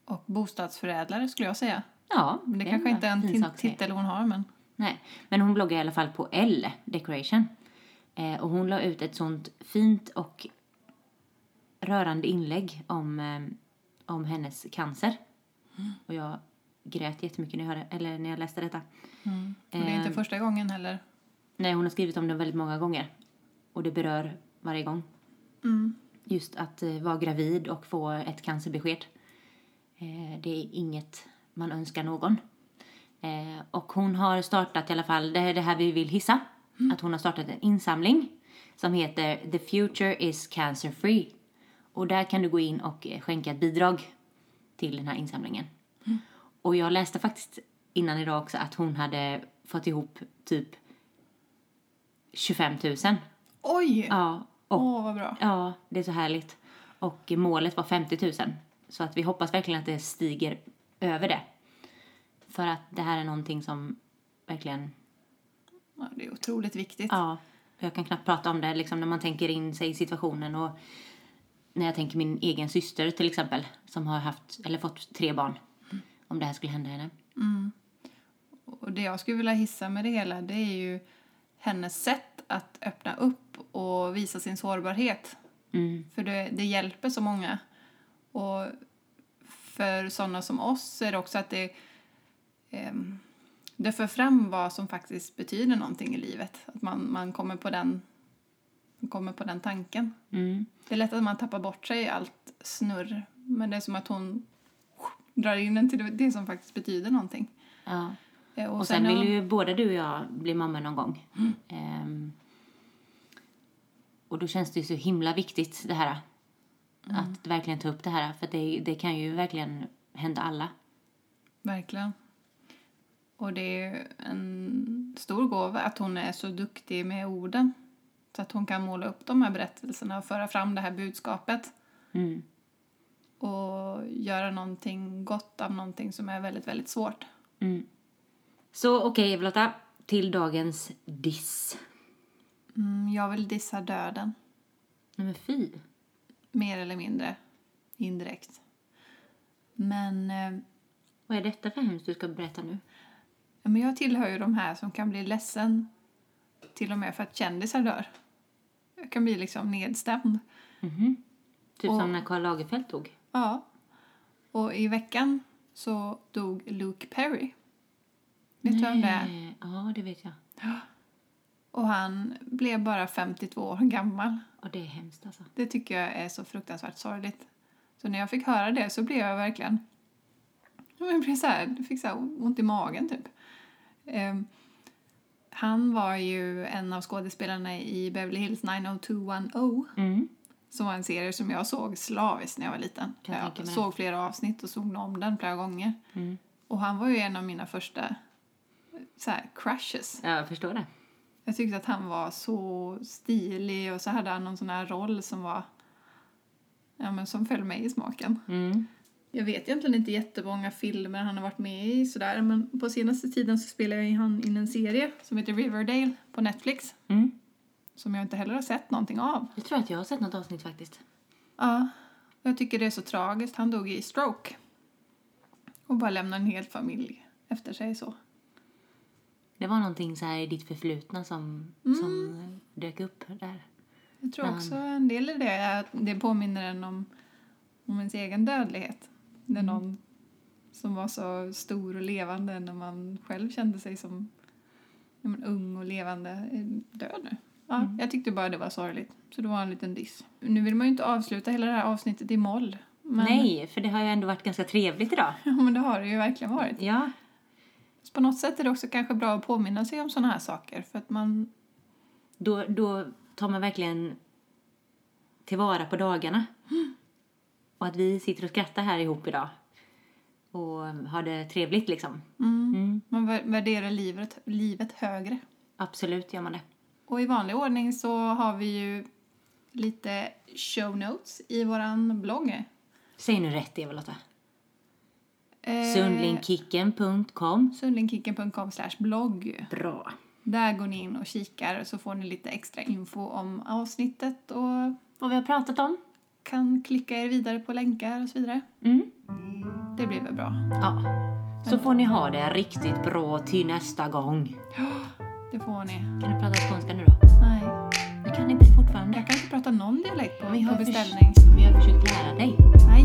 Speaker 2: och bostadsförädlare skulle jag säga.
Speaker 1: Ja,
Speaker 2: Det,
Speaker 1: är
Speaker 2: kanske inte är en
Speaker 1: fin
Speaker 2: ti-
Speaker 1: sak att säga.
Speaker 2: titel hon har, men
Speaker 1: Nej, men hon bloggar i alla fall på L Decoration. Eh, och hon la ut ett sånt fint och rörande inlägg om, eh, om hennes cancer. Och jag grät jättemycket när jag, hörde, eller när jag läste detta.
Speaker 2: och det är inte
Speaker 1: Eh,
Speaker 2: första gången heller.
Speaker 1: Nej, hon har skrivit om den väldigt många gånger. Och det berör varje gång.
Speaker 2: Mm.
Speaker 1: Just att eh, vara gravid och få ett cancerbesked. Eh, det är inget man önskar någon. Eh, och hon har startat i alla fall, det är det här vi vill hissa. Att hon har startat en insamling som heter The Future is Cancer Free. Och där kan du gå in och eh, skänka ett bidrag till den här insamlingen. Och jag läste faktiskt innan idag också att hon hade fått ihop typ 25 000.
Speaker 2: Oj! Åh,
Speaker 1: Ja, och
Speaker 2: vad bra.
Speaker 1: Ja, det är så härligt. Och målet var 50 000. Så att vi hoppas verkligen att det stiger över det. För att det här är någonting som verkligen,
Speaker 2: Ja, det är otroligt viktigt.
Speaker 1: ja, jag kan knappt prata om det liksom när man tänker in sig i situationen och när jag tänker min egen syster till exempel som har haft, eller fått tre barn. Om det här skulle hända henne.
Speaker 2: Och det jag skulle vilja hissa med det hela det är ju hennes sätt att öppna upp och visa sin sårbarhet.
Speaker 1: Mm,
Speaker 2: För det, det hjälper så många. Och för sådana som oss är det också att det, ehm, det för fram vad som faktiskt betyder någonting i livet. Att man, man kommer, på den, man kommer på den tanken.
Speaker 1: mm,
Speaker 2: Det är lätt att man tappar bort sig i allt snurr. Men det är som att hon drar in en till det som faktiskt betyder någonting.
Speaker 1: ja.
Speaker 2: Eh,
Speaker 1: Och, sen,
Speaker 2: har-
Speaker 1: vill ju både du och jag bli mamma någon gång. Ehm, och då känns det ju så himla viktigt det här. Att verkligen ta upp det här. För det, det kan ju verkligen hända alla.
Speaker 2: Verkligen. Och det är en stor gåva att hon är så duktig med orden. Så att hon kan måla upp de här berättelserna och föra fram det här budskapet.
Speaker 1: Mm.
Speaker 2: Och göra någonting gott av någonting som är väldigt, väldigt svårt.
Speaker 1: mm. Så okej Eva-Lotta, till dagens diss.
Speaker 2: Mm, jag vill dissa döden.
Speaker 1: Nej men fy.
Speaker 2: Mer eller mindre. Indirekt. Men, eh,
Speaker 1: Vad är detta för hemskt du ska berätta nu?
Speaker 2: men jag tillhör ju de här som kan bli ledsen till och med för att kändisar dör. Jag kan bli liksom nedstämd.
Speaker 1: Typ
Speaker 2: Åh.
Speaker 1: som när Karl Lagerfeld dog.
Speaker 2: Ja. Och i veckan så dog Luke Perry. Vet du vem det är?
Speaker 1: Nej. Ja, det vet jag.
Speaker 2: Och han blev bara 52 år gammal.
Speaker 1: Och det är hemskt alltså.
Speaker 2: Det tycker jag är så fruktansvärt sorgligt. Så när jag fick höra det så blev jag verkligen... *laughs* Ja, men Jag blev så här, jag fick så här ont i magen typ. Ehm, han var ju en av skådespelarna i Beverly Hills 90210
Speaker 1: Mm.
Speaker 2: som var en serie som jag såg slaviskt när jag var liten.
Speaker 1: Kan jag tänka
Speaker 2: jag
Speaker 1: mig.
Speaker 2: såg flera avsnitt och såg om den flera gånger.
Speaker 1: Mm.
Speaker 2: Och han var ju en av mina första så här, crushes.
Speaker 1: Ja, jag förstår det.
Speaker 2: Jag tyckte att han var så stilig och så hade han någon sån här roll som var ja, men som föll mig i smaken.
Speaker 1: Mm.
Speaker 2: Jag vet egentligen inte jättemånga filmer han har varit med i sådär men på senaste tiden så spelade jag in han in en serie som heter Riverdale på Netflix
Speaker 1: Mm.
Speaker 2: som jag inte heller har sett någonting av.
Speaker 1: Jag tror att jag har sett något avsnitt faktiskt.
Speaker 2: Ja, och jag tycker det är så tragiskt. Han dog i stroke och bara lämnade en hel familj efter sig så.
Speaker 1: Det var någonting så här i ditt förflutna som, som dök upp där.
Speaker 2: Jag tror också en del i det är att det påminner en om, om ens egen dödlighet. När någon som var så stor och levande när man själv kände sig som ja, men, ung och levande är död nu. Ja, Jag tyckte bara det var sorgligt, så det var en liten diss. Nu vill man ju inte avsluta hela det här avsnittet i moll. *laughs* Men,
Speaker 1: Nej, för det har ju ändå varit ganska trevligt idag.
Speaker 2: Ja, men det har det ju verkligen varit.
Speaker 1: Ja,
Speaker 2: Så på något sätt är det också kanske bra att påminna sig om sådana här saker. För att man,
Speaker 1: då, då tar man verkligen tillvara på dagarna. Och att vi sitter och skrattar här ihop idag. Och har det trevligt liksom.
Speaker 2: mm,
Speaker 1: Mm.
Speaker 2: man vär- värderar livet, livet högre.
Speaker 1: Absolut gör man det.
Speaker 2: Och i vanlig ordning så har vi ju lite show notes i våran blogg.
Speaker 1: Säg nu rätt Eva-Lotta.
Speaker 2: Eh,
Speaker 1: Sundlingkicken.com
Speaker 2: Sundlingkicken.com slash blogg.
Speaker 1: Bra.
Speaker 2: Där går ni in och kikar så får ni lite extra info om avsnittet och
Speaker 1: Vad vi har pratat om.
Speaker 2: kan klicka er vidare på länkar och så vidare.
Speaker 1: Mm.
Speaker 2: Det blir väl bra.
Speaker 1: Ja. Så får ni ha det riktigt bra till nästa gång.
Speaker 2: Det får ni.
Speaker 1: Kan du prata skånska nu då?
Speaker 2: Nej,
Speaker 1: Du kan inte fortfarande.
Speaker 2: jag kan inte prata någon dialekt på,
Speaker 1: Men jag
Speaker 2: på
Speaker 1: har
Speaker 2: beställning.
Speaker 1: förs- Men jag har försökt lära dig.
Speaker 2: Nej.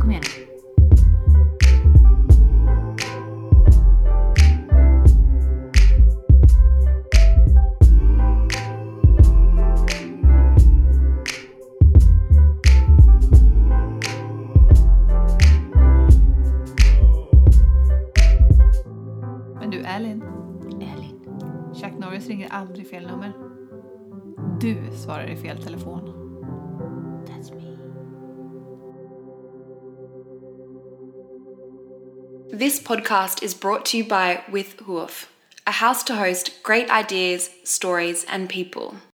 Speaker 1: Kom igen nu.
Speaker 2: Men du Elin,
Speaker 1: Elin.
Speaker 2: Chuck Norris ringer aldrig fel nummer. Du svarar i fel telefon.
Speaker 1: That's me.
Speaker 3: This podcast is brought to you by With Hoof, a house to host great ideas, stories, and people.